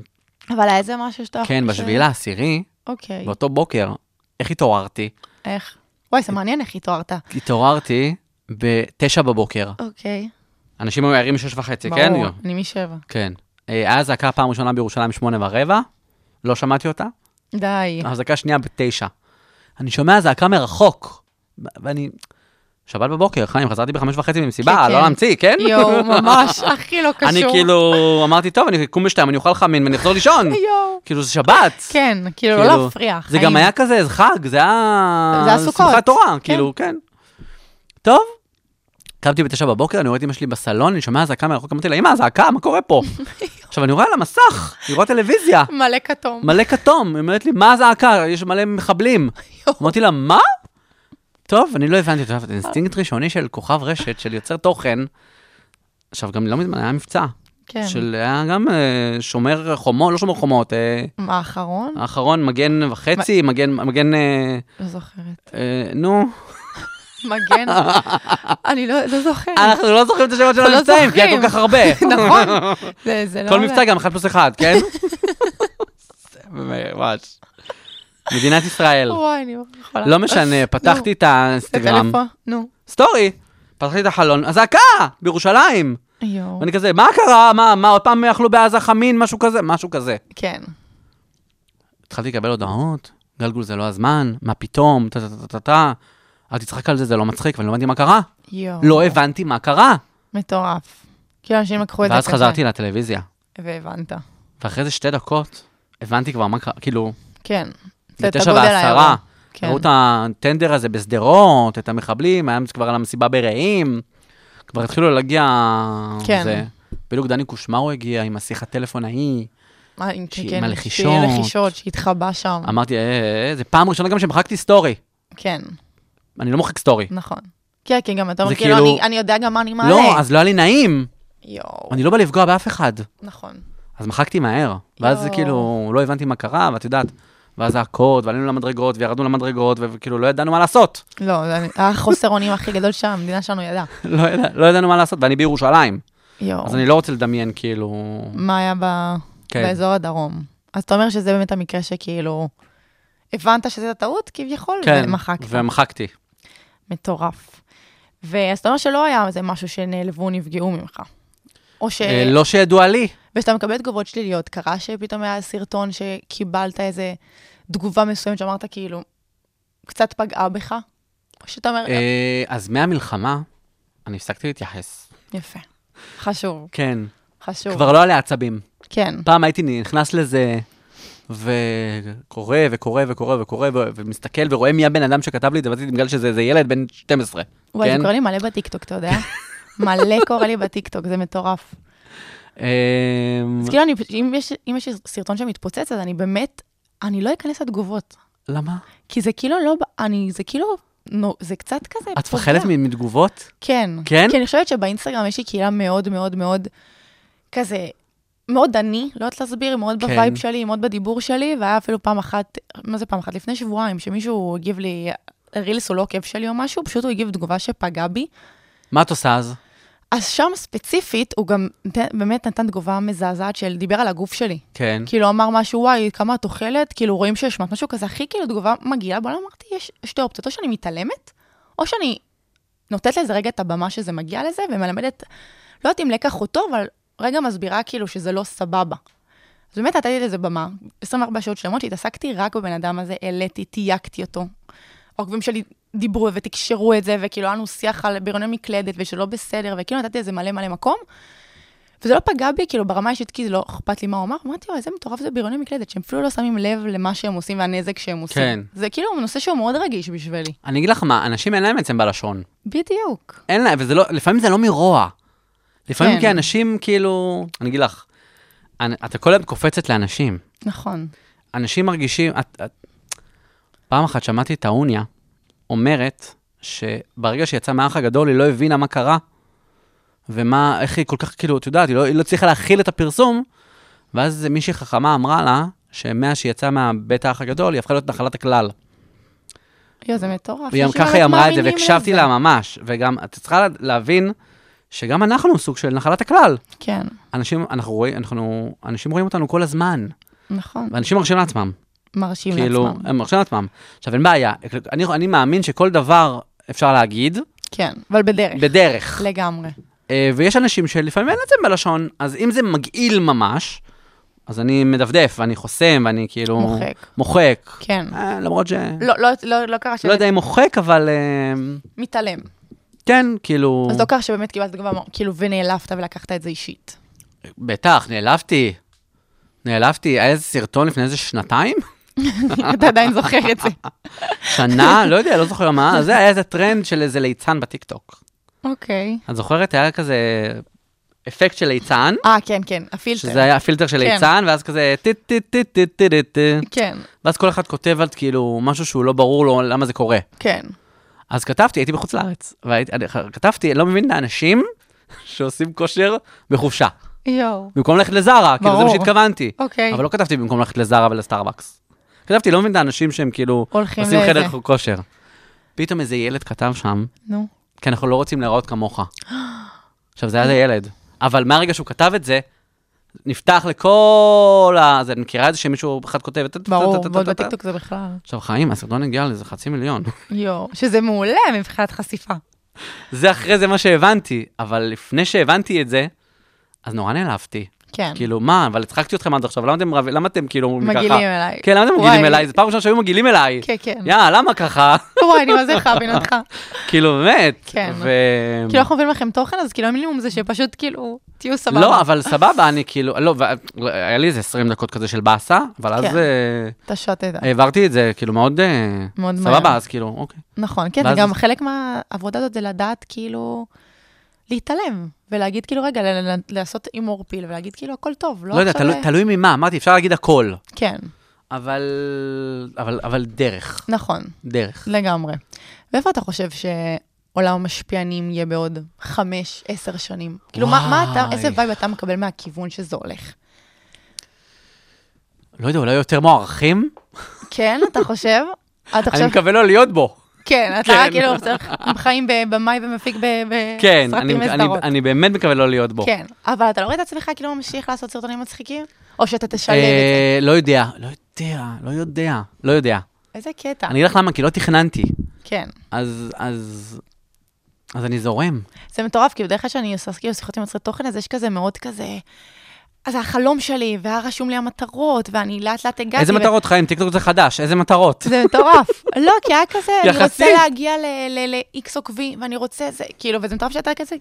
Speaker 4: אבל היה איזה משהו שאתה...
Speaker 5: כן,
Speaker 4: ש-
Speaker 5: בשביעי לעשירי,
Speaker 4: אוקיי.
Speaker 5: באותו בוקר, איך התעוררתי?
Speaker 4: איך? וואי, זה מעניין איך התעוררת.
Speaker 5: התעוררתי בתשע בבוקר.
Speaker 4: אוקיי.
Speaker 5: כן, אנשים היו ערים שש וחצי, כן?
Speaker 4: ברור, אני משבע.
Speaker 5: כן. אה, היה אזעקה פעם ראשונה בירושלים שמונה ורבע, לא שמעתי אותה.
Speaker 4: די.
Speaker 5: האזעקה השנייה בתשע. אני שומע אזעקה מרחוק, ו- ואני... שבת בבוקר, חיים, חזרתי בחמש וחצי ממסיבה,
Speaker 4: כן,
Speaker 5: לא
Speaker 4: כן.
Speaker 5: להמציא, כן?
Speaker 4: יואו, ממש, הכי לא קשור.
Speaker 5: אני כאילו אמרתי, טוב, אני אקום בשתיים, אני אוכל חמין ואני אחזור לישון.
Speaker 4: יואו.
Speaker 5: כאילו, זה שבת.
Speaker 4: כן, כאילו, לא
Speaker 5: כאילו,
Speaker 4: להפריע.
Speaker 5: זה
Speaker 4: חיים.
Speaker 5: גם היה כזה איזה חג, זה היה...
Speaker 4: זה היה סוכות.
Speaker 5: שמחת תורה,
Speaker 4: כן.
Speaker 5: כאילו, כן. טוב, קמתי בתשע בבוקר, אני רואה את אמא שלי בסלון, אני שומע אזעקה מרחוק, אמרתי לה, אמא, אזעקה, מה קורה פה? עכשיו, אני רואה על המסך, אני רואה טלוויזיה,
Speaker 4: מלא כתום.
Speaker 5: מלא כתום, היא אומרת לי, מה הזעקה? יש מלא מחבלים. אמרתי לה, מה? טוב, אני לא הבנתי, אתה יודע, זה אינסטינקט ראשוני של כוכב רשת, של יוצר תוכן. עכשיו, גם לא מזמן היה מבצע.
Speaker 4: כן.
Speaker 5: של היה גם אה, שומר חומות, לא שומר חומות, אה,
Speaker 4: מה האחרון?
Speaker 5: האחרון מגן וחצי, מגן, מגן, אה,
Speaker 4: לא זוכרת.
Speaker 5: אה, נו,
Speaker 4: כן. מגן? אני לא לא זוכרת.
Speaker 5: אנחנו לא זוכרים את השמות של
Speaker 4: אנחנו לא
Speaker 5: המבצעים, כי
Speaker 4: זוכרים.
Speaker 5: היה כל כך הרבה.
Speaker 4: נכון. זה- זה לא...
Speaker 5: כל מבצע גם אחד פלוס אחד, כן? ממש. מדינת ישראל.
Speaker 4: וואי, אני יכולה.
Speaker 5: לא משנה, פתחתי את האינסטגרם.
Speaker 4: בטלפון, נו.
Speaker 5: סטורי. פתחתי את החלון, אזעקה! בירושלים!
Speaker 4: יואו.
Speaker 5: ואני כזה, מה קרה? מה, מה, עוד פעם אכלו בעזה חמין? משהו כזה? משהו כזה.
Speaker 4: כן.
Speaker 5: התחלתי לקבל הודעות, גלגול זה לא הזמן, מה פתאום, טה טה טה טה טה. אל תצחק על זה, זה לא מצחיק, ואני לא הבנתי מה קרה.
Speaker 4: יואו.
Speaker 5: לא הבנתי מה קרה.
Speaker 4: מטורף. כאילו אנשים לקחו את זה
Speaker 5: ואז
Speaker 4: כזה.
Speaker 5: חזרתי לטלוויזיה,
Speaker 4: והבנת.
Speaker 5: ואחרי זה שתי דקות, הבנתי כבר מה קרה, כאילו,
Speaker 4: כן. זה את
Speaker 5: בתשע
Speaker 4: הגודל
Speaker 5: ועשרה,
Speaker 4: האירוע. כן.
Speaker 5: ראו את הטנדר הזה בשדרות, את המחבלים, היה כבר על המסיבה ברעים, כבר התחילו להגיע...
Speaker 4: כן.
Speaker 5: זה. בדיוק דני קושמרו הגיע עם השיחת טלפון ההיא.
Speaker 4: מה, אם-
Speaker 5: שהיא
Speaker 4: כן,
Speaker 5: עם הלחישות.
Speaker 4: שהיא לחישות, שהתחבא שם.
Speaker 5: אמרתי, אה, אה, אה, זה פעם ראשונה גם שמחקתי סטורי.
Speaker 4: כן,
Speaker 5: אני לא מוחק סטורי.
Speaker 4: נכון. כן, כי גם אתה
Speaker 5: זה
Speaker 4: אומר, כאילו,
Speaker 5: כאילו-
Speaker 4: אני- אני יודע גם מה אני מעלה.
Speaker 5: לא, אז לא היה לי נעים.
Speaker 4: יואו,
Speaker 5: אני לא בא לפגוע באף אחד.
Speaker 4: נכון.
Speaker 5: אז מחקתי מהר. ואז זה
Speaker 4: יואו.
Speaker 5: כאילו, לא הבנתי מה קרה, ואת יודעת. ואז זעקות, ועלינו למדרגות, וירדנו למדרגות, וכאילו לא ידענו מה לעשות.
Speaker 4: לא, זה היה חוסר אונים הכי גדול שהמדינה שלנו ידעה.
Speaker 5: לא, ידע, לא ידענו מה לעשות, ואני בירושלים.
Speaker 4: יואו.
Speaker 5: אז אני לא רוצה לדמיין, כאילו...
Speaker 4: מה היה ב...
Speaker 5: כן.
Speaker 4: באזור הדרום. אז אתה אומר שזה באמת המקרה שכאילו, הבנת שזה טעות כביכול,
Speaker 5: כן,
Speaker 4: ומחקת.
Speaker 5: ומחקתי.
Speaker 4: מטורף. ואז אתה אומר שלא היה איזה משהו שנעלבו, נפגעו ממך. או ש...
Speaker 5: אה, לא שידוע לי.
Speaker 4: וכשאתה מקבל תגובות שליליות, קרה שפתאום היה סרטון שקיבלת איזה תגובה מסוימת שאמרת כאילו, קצת פגעה בך? או שאתה אומר,
Speaker 5: אה, אז מהמלחמה, אני הפסקתי להתייחס.
Speaker 4: יפה, חשוב,
Speaker 5: כן.
Speaker 4: חשוב.
Speaker 5: כבר לא אה, עלי עצבים.
Speaker 4: כן,
Speaker 5: פעם הייתי נכנס לזה, וקורא וקורא וקורא וקורא, ו- ומסתכל ורואה מי הבן אדם שכתב לי את זה, ואז בגלל שזה זה ילד בן 12.
Speaker 4: וואי,
Speaker 5: כן?
Speaker 4: זה קורה לי מלא בטיקטוק, אתה יודע? מלא קורה לי בטיקטוק, זה מטורף.
Speaker 5: אמ,
Speaker 4: אז כאילו, אני, אם, יש, אם יש סרטון שמתפוצץ, אז אני באמת, אני לא אכנס לתגובות.
Speaker 5: למה?
Speaker 4: כי זה כאילו לא, ב- אני, זה כאילו, נו, זה קצת כזה...
Speaker 5: את מפחדת
Speaker 4: פוגע.
Speaker 5: מ- מתגובות?
Speaker 4: כן.
Speaker 5: כן?
Speaker 4: כי אני חושבת שבאינסטגרם יש לי קהילה מאוד מאוד מאוד כזה, מאוד אני, לא יודעת להסביר, מאוד
Speaker 5: כן.
Speaker 4: בווייב שלי, מאוד בדיבור שלי, והיה אפילו פעם אחת, מה זה פעם אחת? לפני שבועיים, שמישהו הגיב לי רילס או לא כאב שלי או משהו, פשוט הוא הגיב תגובה שפגעה בי.
Speaker 5: מה את עושה אז?
Speaker 4: אז שם ספציפית, הוא גם נת- באמת נתן תגובה מזעזעת של דיבר על הגוף שלי.
Speaker 5: כן.
Speaker 4: כאילו אמר משהו, וואי, כמה את אוכלת, כאילו רואים שהשמעת משהו כזה, הכי כאילו תגובה מגעילה, בואלה אמרתי, יש שתי אופציות, או שאני מתעלמת, או שאני נותנת לזה רגע את הבמה שזה מגיע לזה, ומלמדת, לא יודעת אם לקח הוא טוב, אבל רגע מסבירה כאילו שזה לא סבבה. אז באמת נתתי לזה במה, 24 שעות שלמות שהתעסקתי רק בבן אדם הזה, העליתי, תייקתי אותו. העוקבים שלי דיברו ותקשרו את זה, וכאילו היה לנו שיח על בריוני מקלדת ושלא בסדר, וכאילו נתתי לזה מלא מלא מקום. וזה לא פגע בי, כאילו, ברמה האישית, כי זה לא אכפת לי מה הוא אמר, אמרתי, אוי, איזה מטורף זה בריוני מקלדת, שהם אפילו לא שמים לב למה שהם עושים והנזק שהם עושים.
Speaker 5: כן.
Speaker 4: זה כאילו נושא שהוא מאוד רגיש בשבילי.
Speaker 5: אני אגיד לך מה, אנשים אין להם עצם בלשון.
Speaker 4: בדיוק.
Speaker 5: אין להם, וזה לא, לפעמים זה לא מרוע. לפעמים
Speaker 4: כן.
Speaker 5: כי אנשים כאילו, אני אגיד לך, אני- אתה כל היום קופצת לאנשים.
Speaker 4: נכון.
Speaker 5: אנשים מרגישים, את, את... פעם אחת שמעתי את האוניה אומרת שברגע שיצאה מהאח הגדול היא לא הבינה מה קרה, ומה, איך היא כל כך, כאילו, את יודעת, היא לא, היא לא הצליחה להכיל את הפרסום, ואז מישהי חכמה אמרה לה, שמאז שהיא יצאה מהבית האח הגדול, היא הפכה להיות נחלת הכלל.
Speaker 4: יואו, זה מטורף.
Speaker 5: והיא גם
Speaker 4: אנשים
Speaker 5: ככה היא
Speaker 4: באמת
Speaker 5: אמרה את זה,
Speaker 4: מאמינים
Speaker 5: והקשבתי
Speaker 4: לזה.
Speaker 5: לה ממש. וגם, את צריכה לה- להבין שגם אנחנו סוג של נחלת הכלל.
Speaker 4: כן,
Speaker 5: אנשים, אנחנו רואים, אנחנו, אנשים רואים אותנו כל הזמן,
Speaker 4: נכון.
Speaker 5: ואנשים מרשים לעצמם.
Speaker 4: מרשים
Speaker 5: כאילו,
Speaker 4: לעצמם.
Speaker 5: הם מרשים לעצמם. עכשיו, אין בעיה, אני, אני מאמין שכל דבר אפשר להגיד
Speaker 4: כן, אבל בדרך.
Speaker 5: בדרך.
Speaker 4: לגמרי.
Speaker 5: אה, ויש אנשים שלפעמים אין את זה בלשון, אז אם זה מגעיל ממש, אז אני מדפדף, ואני חוסם, ואני כאילו...
Speaker 4: מוחק.
Speaker 5: מוחק.
Speaker 4: כן.
Speaker 5: אה, למרות ש... לא,
Speaker 4: לא, לא, לא, לא קרה
Speaker 5: יודע אם מוחק, אבל אה,
Speaker 4: מתעלם.
Speaker 5: כן, כאילו...
Speaker 4: אז לא קרה שבאמת קיבלת תגובה, כאילו, ונעלבת ולקחת את זה אישית.
Speaker 5: בטח, נעלבתי. נעלבתי, היה איזה סרטון לפני איזה שנתיים?
Speaker 4: אתה עדיין זוכר את זה.
Speaker 5: שנה? לא יודע, לא זוכר מה. זה היה איזה טרנד של איזה ליצן בטיקטוק.
Speaker 4: אוקיי.
Speaker 5: את זוכרת? היה כזה אפקט של ליצן,
Speaker 4: אה, כן, כן, הפילטר.
Speaker 5: שזה היה הפילטר של
Speaker 4: כן.
Speaker 5: ליצן, ואז כזה טי טי טי טי טי טי טי.
Speaker 4: כן,
Speaker 5: ואז כל אחד כותב על כאילו משהו שהוא לא ברור לו למה זה קורה.
Speaker 4: כן.
Speaker 5: אז כתבתי, הייתי בחוץ לארץ, וכתבתי, אני לא מבין את האנשים שעושים כושר בחופשה.
Speaker 4: יואו.
Speaker 5: במקום ללכת לזארה, כאילו זה מה
Speaker 4: ברור.
Speaker 5: שהתכוונתי.
Speaker 4: אוקיי.
Speaker 5: אבל לא כתבתי במקום ללכת לזארה ולסטארבקס. כתבתי, לא מבין את האנשים שהם כאילו
Speaker 4: הולכים
Speaker 5: עושים
Speaker 4: לאיזה.
Speaker 5: חדר כושר. פתאום איזה ילד כתב שם,
Speaker 4: נו.
Speaker 5: כי אנחנו לא רוצים להיראות כמוך. עכשיו, זה היה זה ילד. אבל מהרגע שהוא כתב את זה, נפתח לכל ה... זה, אני מכירה את זה שמישהו אחד כותב... "טה, טה, טה,
Speaker 4: ברור,
Speaker 5: טה, טה,
Speaker 4: ועוד
Speaker 5: טה, טה".
Speaker 4: בטיקטוק זה בכלל.
Speaker 5: עכשיו, חיים, הסרטון הגיע לאיזה חצי מיליון.
Speaker 4: יואו. שזה מעולה מבחינת חשיפה.
Speaker 5: זה אחרי זה מה שהבנתי, אבל לפני שהבנתי את זה, אז נורא נעלבתי.
Speaker 4: כן.
Speaker 5: כאילו, מה, אבל הצחקתי אתכם עד עכשיו, למה אתם, רב- למה אתם כאילו אומרים לי ככה?
Speaker 4: מגעילים אליי.
Speaker 5: כן, למה אתם
Speaker 4: וואי.
Speaker 5: מגעילים אליי? זו פעם ראשונה שהיו מגעילים אליי.
Speaker 4: כן, כן.
Speaker 5: יא, למה ככה?
Speaker 4: וואי, אני מה זה חבין אותך.
Speaker 5: כאילו, באמת.
Speaker 4: כן.
Speaker 5: ו...
Speaker 4: כאילו אנחנו מביאים לכם תוכן, אז כאילו המינימום זה שפשוט כאילו, תהיו סבבה.
Speaker 5: לא, אבל סבבה, אני כאילו, לא, ו- היה לי איזה 20 דקות כזה של באסה, אבל אז
Speaker 4: כן.
Speaker 5: אה,
Speaker 4: אתה שותת.
Speaker 5: העברתי את זה, כאילו, מאוד... אה,
Speaker 4: מאוד מהר.
Speaker 5: סבבה, אז כאילו, אוקיי.
Speaker 4: נכון, כן, זה
Speaker 5: ואז-
Speaker 4: גם חלק מהעבודה הזאת זה לדעת כאילו להתעלם, ולהגיד כאילו, רגע, ל- ל- לעשות הימור פיל, ולהגיד כאילו, הכל טוב, לא
Speaker 5: לא יודע,
Speaker 4: עכשיו...
Speaker 5: תלוי- תלוי ממה, אמרתי, אפשר להגיד הכל,
Speaker 4: כן,
Speaker 5: אבל... אבל אבל דרך,
Speaker 4: נכון,
Speaker 5: דרך.
Speaker 4: לגמרי. ואיפה אתה חושב שעולם המשפיענים יהיה בעוד חמש, עשר שנים? כאילו, מה מה אתה,
Speaker 5: וואי.
Speaker 4: איזה וייב אתה מקבל מהכיוון שזה הולך?
Speaker 5: לא יודע, אולי יותר מוערכים?
Speaker 4: כן, אתה חושב? אתה
Speaker 5: אני
Speaker 4: חושב,
Speaker 5: מקווה לא להיות בו.
Speaker 4: כן, אתה
Speaker 5: כן.
Speaker 4: כאילו צריך, הם חיים בבמאי ומפיק ב-
Speaker 5: כן,
Speaker 4: בסרטים
Speaker 5: אני- אני-
Speaker 4: וסדרות.
Speaker 5: אני באמת מקווה לא להיות בו.
Speaker 4: כן, אבל אתה לא רואה את עצמך כאילו ממשיך לעשות סרטונים מצחיקים? או שאתה תשלב את זה?
Speaker 5: אה, לא יודע, לא יודע, לא יודע, לא יודע.
Speaker 4: איזה קטע.
Speaker 5: אני אגיד לך למה, כי לא תכננתי.
Speaker 4: כן.
Speaker 5: אז, אז, אז אני זורם.
Speaker 4: זה מטורף, כי בדרך כלל שאני עושה כאילו שיחות עם יוצרי תוכן, אז יש כזה מאוד כזה... אז זה החלום שלי, והיה רשום לי המטרות, ואני לאט לאט הגעתי.
Speaker 5: איזה
Speaker 4: ו-
Speaker 5: מטרות, חיים? טיקטוק זה חדש, איזה מטרות?
Speaker 4: כן, זה מטורף. לא, כי היה כזה, אני רוצה
Speaker 5: יחסית.
Speaker 4: להגיע ל-X עוקבי, ואני רוצה זה, כאילו, וזה מטורף שאתה כזה...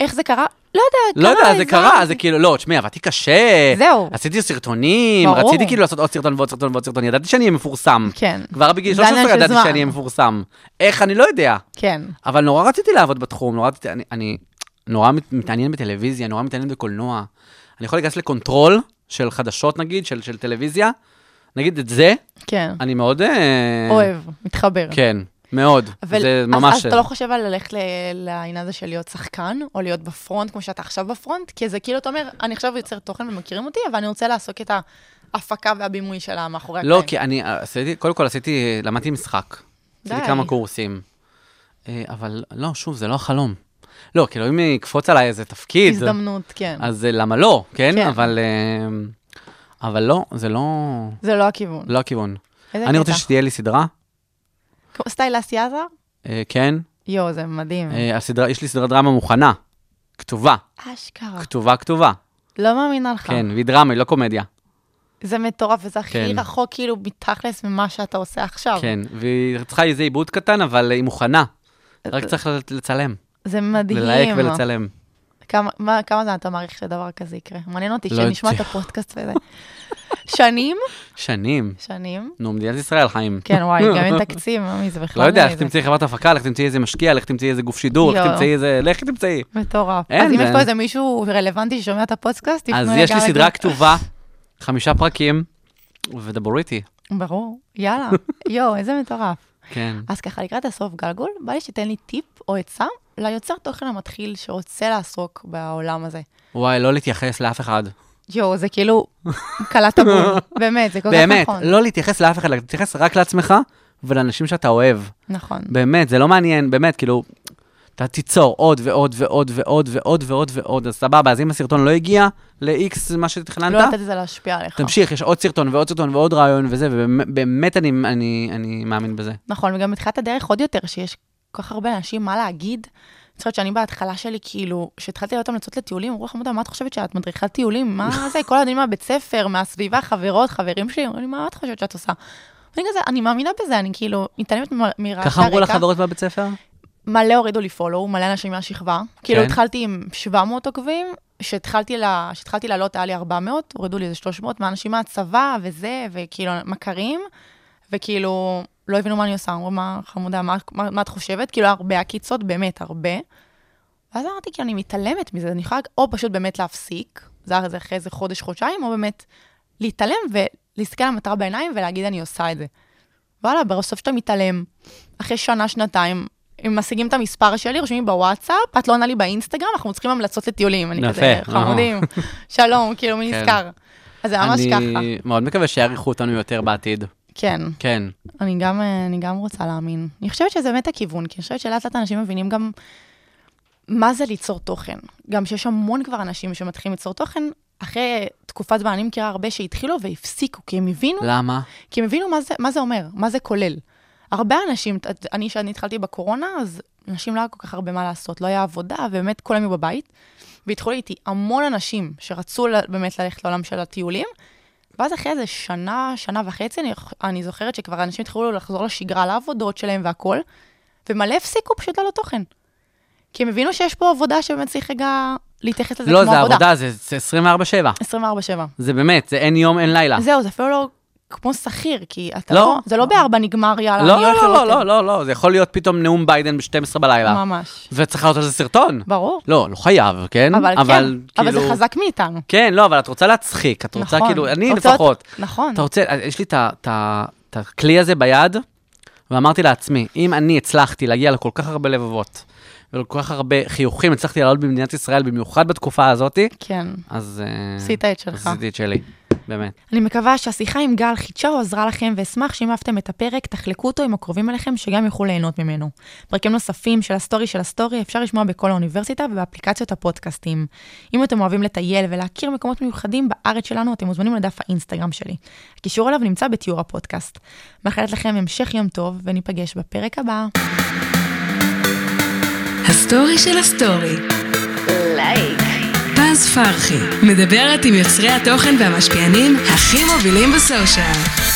Speaker 4: איך זה קרה? לא יודע,
Speaker 5: לא יודע,
Speaker 4: לי,
Speaker 5: זה קרה,
Speaker 4: זרמתי.
Speaker 5: זה כאילו, לא, תשמעי, עבדתי קשה.
Speaker 4: זהו.
Speaker 5: עשיתי סרטונים,
Speaker 4: ברור.
Speaker 5: רציתי כאילו לעשות עוד סרטון ועוד סרטון ועוד סרטון, ידעתי שאני אהיה מפורסם.
Speaker 4: כן.
Speaker 5: כבר בגיל
Speaker 4: זה עניין
Speaker 5: 13
Speaker 4: של
Speaker 5: ידעתי
Speaker 4: זמן.
Speaker 5: שאני אהיה מפורסם. איך, אני לא יודע.
Speaker 4: כן,
Speaker 5: אבל נורא רציתי לעבוד בתחום, נורא רציתי, אני, אני נורא מת- מתעניין בטלוויזיה, נורא מתעניין בקולנוע. אני יכול להיכנס לקונטרול של חדשות נגיד, של, של טלוויזיה, נגיד את זה,
Speaker 4: כן.
Speaker 5: אני מאוד... אה,
Speaker 4: אוהב, מתחבר.
Speaker 5: כן, מאוד.
Speaker 4: אבל
Speaker 5: זה
Speaker 4: אז-
Speaker 5: ממש...
Speaker 4: אז אתה לא חושב על ללכת ל- לעניין הזה של להיות שחקן, או להיות בפרונט, כמו שאתה עכשיו בפרונט? כי זה כאילו, אתה אומר, אני עכשיו יוצר תוכן ומכירים אותי, אבל אני רוצה לעסוק את ההפקה והבימוי שלה מאחורי
Speaker 5: לא, כי אני עשיתי, קודם כל עשיתי, אה, למדתי משחק.
Speaker 4: די.
Speaker 5: עשיתי כמה קורסים. אה, אבל לא, שוב, זה לא החלום. לא, כאילו, אם יקפוץ עליי איזה תפקיד,
Speaker 4: הזדמנות, כן.
Speaker 5: אז אה, למה לא, כן?
Speaker 4: כן.
Speaker 5: אבל אה, אבל לא, זה לא
Speaker 4: זה לא הכיוון.
Speaker 5: לא הכיוון.
Speaker 4: איזה
Speaker 5: אני רוצה
Speaker 4: קטע.
Speaker 5: שתהיה לי סדרה,
Speaker 4: כמו סטייל אסי עזר?
Speaker 5: אה, כן?
Speaker 4: יואו, זה מדהים.
Speaker 5: אה, הסדרה, יש לי סדרת דרמה מוכנה. כתובה,
Speaker 4: אה. אשכרה.
Speaker 5: כתובה, כתובה.
Speaker 4: לא מאמינה לך.
Speaker 5: אה, כן, והיא דרמה, היא לא קומדיה.
Speaker 4: זה מטורף, וזה הכי
Speaker 5: כן.
Speaker 4: רחוק כאילו מתכלס ממה שאתה עושה עכשיו.
Speaker 5: כן, והיא צריכה איזה עיבוד קטן, אבל היא מוכנה. רק צריך לצלם,
Speaker 4: זה אה. מדהים.
Speaker 5: ללהק ולצלם.
Speaker 4: כמה, מה, כמה זמן אתה מעריך שדבר כזה יקרה? מעניין אותי,
Speaker 5: לא
Speaker 4: שנשמע את
Speaker 5: יודע.
Speaker 4: הפודקאסט וזה. שנים?
Speaker 5: שנים.
Speaker 4: שנים.
Speaker 5: נו, מדינת ישראל, חיים.
Speaker 4: כן, וואי, גם אין תקציב, עמי, זה בכלל...
Speaker 5: לא יודע, איך
Speaker 4: זה
Speaker 5: תמצאי חברת הפקה, לך תמצאי איזה משקיע, לך תמצאי איזה גוף שידור, לך
Speaker 4: יואו.
Speaker 5: תמצאי איזה... לך תמצאי.
Speaker 4: מטורף.
Speaker 5: אין,
Speaker 4: אז אם
Speaker 5: זה-
Speaker 4: יש פה איזה מישהו רלוונטי ששומע את הפודקאסט, תפנו
Speaker 5: אז
Speaker 4: לגל
Speaker 5: יש לי
Speaker 4: הגל.
Speaker 5: סדרה כתובה, חמישה פרקים, ודברו איתי.
Speaker 4: ברור, יאללה. יואו, איזה מטורף.
Speaker 5: כן.
Speaker 4: אז ככה, לקראת הסוף גלגול, בא לי שתיתן לי טיפ או עצה ליוצר תוכן המתחיל שרוצה לעסוק בעולם הזה.
Speaker 5: וואי, לא להתייחס לאף אחד.
Speaker 4: יואו, זה כאילו קלעת בול, באמת, זה כל כך
Speaker 5: באמת,
Speaker 4: נכון.
Speaker 5: לא להתייחס לאף אחד, להתייחס רק לעצמך ולאנשים שאתה אוהב.
Speaker 4: נכון,
Speaker 5: באמת, זה לא מעניין, באמת, כאילו, אתה תיצור עוד ועוד ועוד ועוד ועוד ועוד ועוד, אז סבבה, אז אם הסרטון לא הגיע ל-X, מה שתכננת,
Speaker 4: לא לתת לזה להשפיע עליך.
Speaker 5: תמשיך, יש עוד סרטון ועוד סרטון ועוד רעיון וזה, ובאמת אני, אני, אני מאמין בזה.
Speaker 4: נכון, וגם בתחילת הדרך עוד יותר, שיש כל כך הרבה אנשים מה להגיד. אני חושבת שאני בהתחלה שלי, כאילו, כשהתחלתי להיות המלצות לטיולים, אמרו לך, מודה, מה את חושבת שאת מדריכת טיולים? מה זה? כל הילדים מהבית ספר, מהסביבה, חברות, חברים שלי, אומרים לי, מה את חושבת שאת עושה? אני כזה, אני מאמינה בזה, אני כאילו מתעלמת מ- מרעשי הרקע.
Speaker 5: ככה אמרו לך חברות בבית ספר?
Speaker 4: מלא הורידו לי פולו, מלא אנשים מהשכבה. כאילו,
Speaker 5: כן.
Speaker 4: התחלתי עם 700 עוקבים, כשהתחלתי לה- כשהתחלתי לעלות היה לי 400, הורידו לי איזה 300 מאנשים מהצבא וזה, וכאילו, מכרים, וכאילו, לא הבינו מה אני עושה, אמרו, מה, חמודה, מה, מה, מה את חושבת? כאילו, הרבה עקיצות, באמת, הרבה. ואז אמרתי, כאילו, אני מתעלמת מזה, אני יכולה או פשוט באמת להפסיק, זה היה זה אחרי איזה חודש, חודשיים, או באמת להתעלם ולהסתכל על המטרה בעיניים ולהגיד, אני עושה את זה. וואלה, בסוף שאתה מתעלם, אחרי שנה, שנתיים, הם משיגים את המספר שלי, רושמים בוואטסאפ, את לא עונה לי באינסטגרם, אנחנו צריכים המלצות לטיולים. אני
Speaker 5: יפה,
Speaker 4: כזה,
Speaker 5: אה.
Speaker 4: חמודים, שלום, כאילו, מי
Speaker 5: כן.
Speaker 4: נזכר? אז זה ממש ככה.
Speaker 5: אני מאוד מקווה שיעריכו אותנו יותר בעתיד.
Speaker 4: כן,
Speaker 5: כן.
Speaker 4: אני גם, אה, אני גם רוצה להאמין. אני חושבת שזה באמת הכיוון, כי אני חושבת שלאט לאט אנשים מבינים גם מה זה ליצור תוכן. גם שיש המון כבר אנשים שמתחילים ליצור תוכן, אחרי תקופת זמן, אני מכירה הרבה שהתחילו והפסיקו, כי הם הבינו
Speaker 5: למה?
Speaker 4: כי הם הבינו מה זה, מה זה אומר, מה זה כולל. הרבה אנשים, את- אני, כשאני התחלתי בקורונה, אז אנשים לא היה כל כך הרבה מה לעשות, לא היה עבודה, ובאמת כולם היו בבית. והתחילו איתי המון אנשים שרצו ל- באמת ללכת לעולם של הטיולים, ואז אחרי איזה שנה, שנה וחצי, אני, אני זוכרת שכבר אנשים התחילו לחזור לשגרה, לעבודות שלהם והכול, ומלא הפסיקו פשוט לעלות תוכן. כי הם הבינו שיש פה עבודה שבאמת צריך רגע להתייחס לזה
Speaker 5: לא,
Speaker 4: כמו
Speaker 5: זה
Speaker 4: עבודה.
Speaker 5: עבודה, זה זה 24/7.
Speaker 4: 24/7.
Speaker 5: זה באמת, זה אין יום, אין לילה.
Speaker 4: זהו, זה אפילו לא כמו שכיר, כי אתה
Speaker 5: אה. לא.
Speaker 4: לא, זה לא בארבע נגמר, יאללה,
Speaker 5: לא,
Speaker 4: אני הולך
Speaker 5: לא,
Speaker 4: לראות
Speaker 5: לא,
Speaker 4: את זה.
Speaker 5: לא, לא, לא, זה יכול להיות פתאום נאום ביידן ב-12 בלילה.
Speaker 4: ממש.
Speaker 5: וצריך לעלות על זה סרטון.
Speaker 4: ברור.
Speaker 5: לא, לא חייב, כן?
Speaker 4: אבל, כן, אבל זה
Speaker 5: כאילו-
Speaker 4: חזק מאיתנו.
Speaker 5: כן, לא, אבל את רוצה להצחיק, את רוצה
Speaker 4: נכון.
Speaker 5: כאילו, אני
Speaker 4: אתה רוצה להיות-
Speaker 5: לפחות.
Speaker 4: נכון.
Speaker 5: אתה רוצה, אה, יש לי את ה- את ה- את הכלי הזה ביד, ואמרתי לעצמי, אם אני הצלחתי להגיע לכל כך הרבה לבבות, ולכל כך הרבה חיוכים הצלחתי לעלות במדינת ישראל, במיוחד בתקופה הזאת,
Speaker 4: כן.
Speaker 5: אז... אה,
Speaker 4: עשית את שלך.
Speaker 5: עשיתי את שלי, באמת.
Speaker 4: אני מקווה שהשיחה עם גל חידשה או עזרה לכם, ואשמח שאם אהבתם את הפרק, תחלקו אותו עם הקרובים אליכם, שגם יוכלו ליהנות ממנו. פרקים נוספים של הסטורי של הסטורי אפשר לשמוע בכל האוניברסיטה ובאפליקציות הפודקאסטים. אם אתם אוהבים לטייל ולהכיר מקומות מיוחדים בארץ שלנו, אתם מוזמנים לדף האינסטגרם שלי. הקישור אליו נמצא בתיאור הפודקאסט. מאחלת לכם המשך יום טוב, וניפגש בפרק הבא.
Speaker 3: הסטורי של הסטורי.
Speaker 2: לייק.
Speaker 3: פז פרחי מדברת עם יוצרי התוכן והמשפיענים הכי מובילים בסושיאל.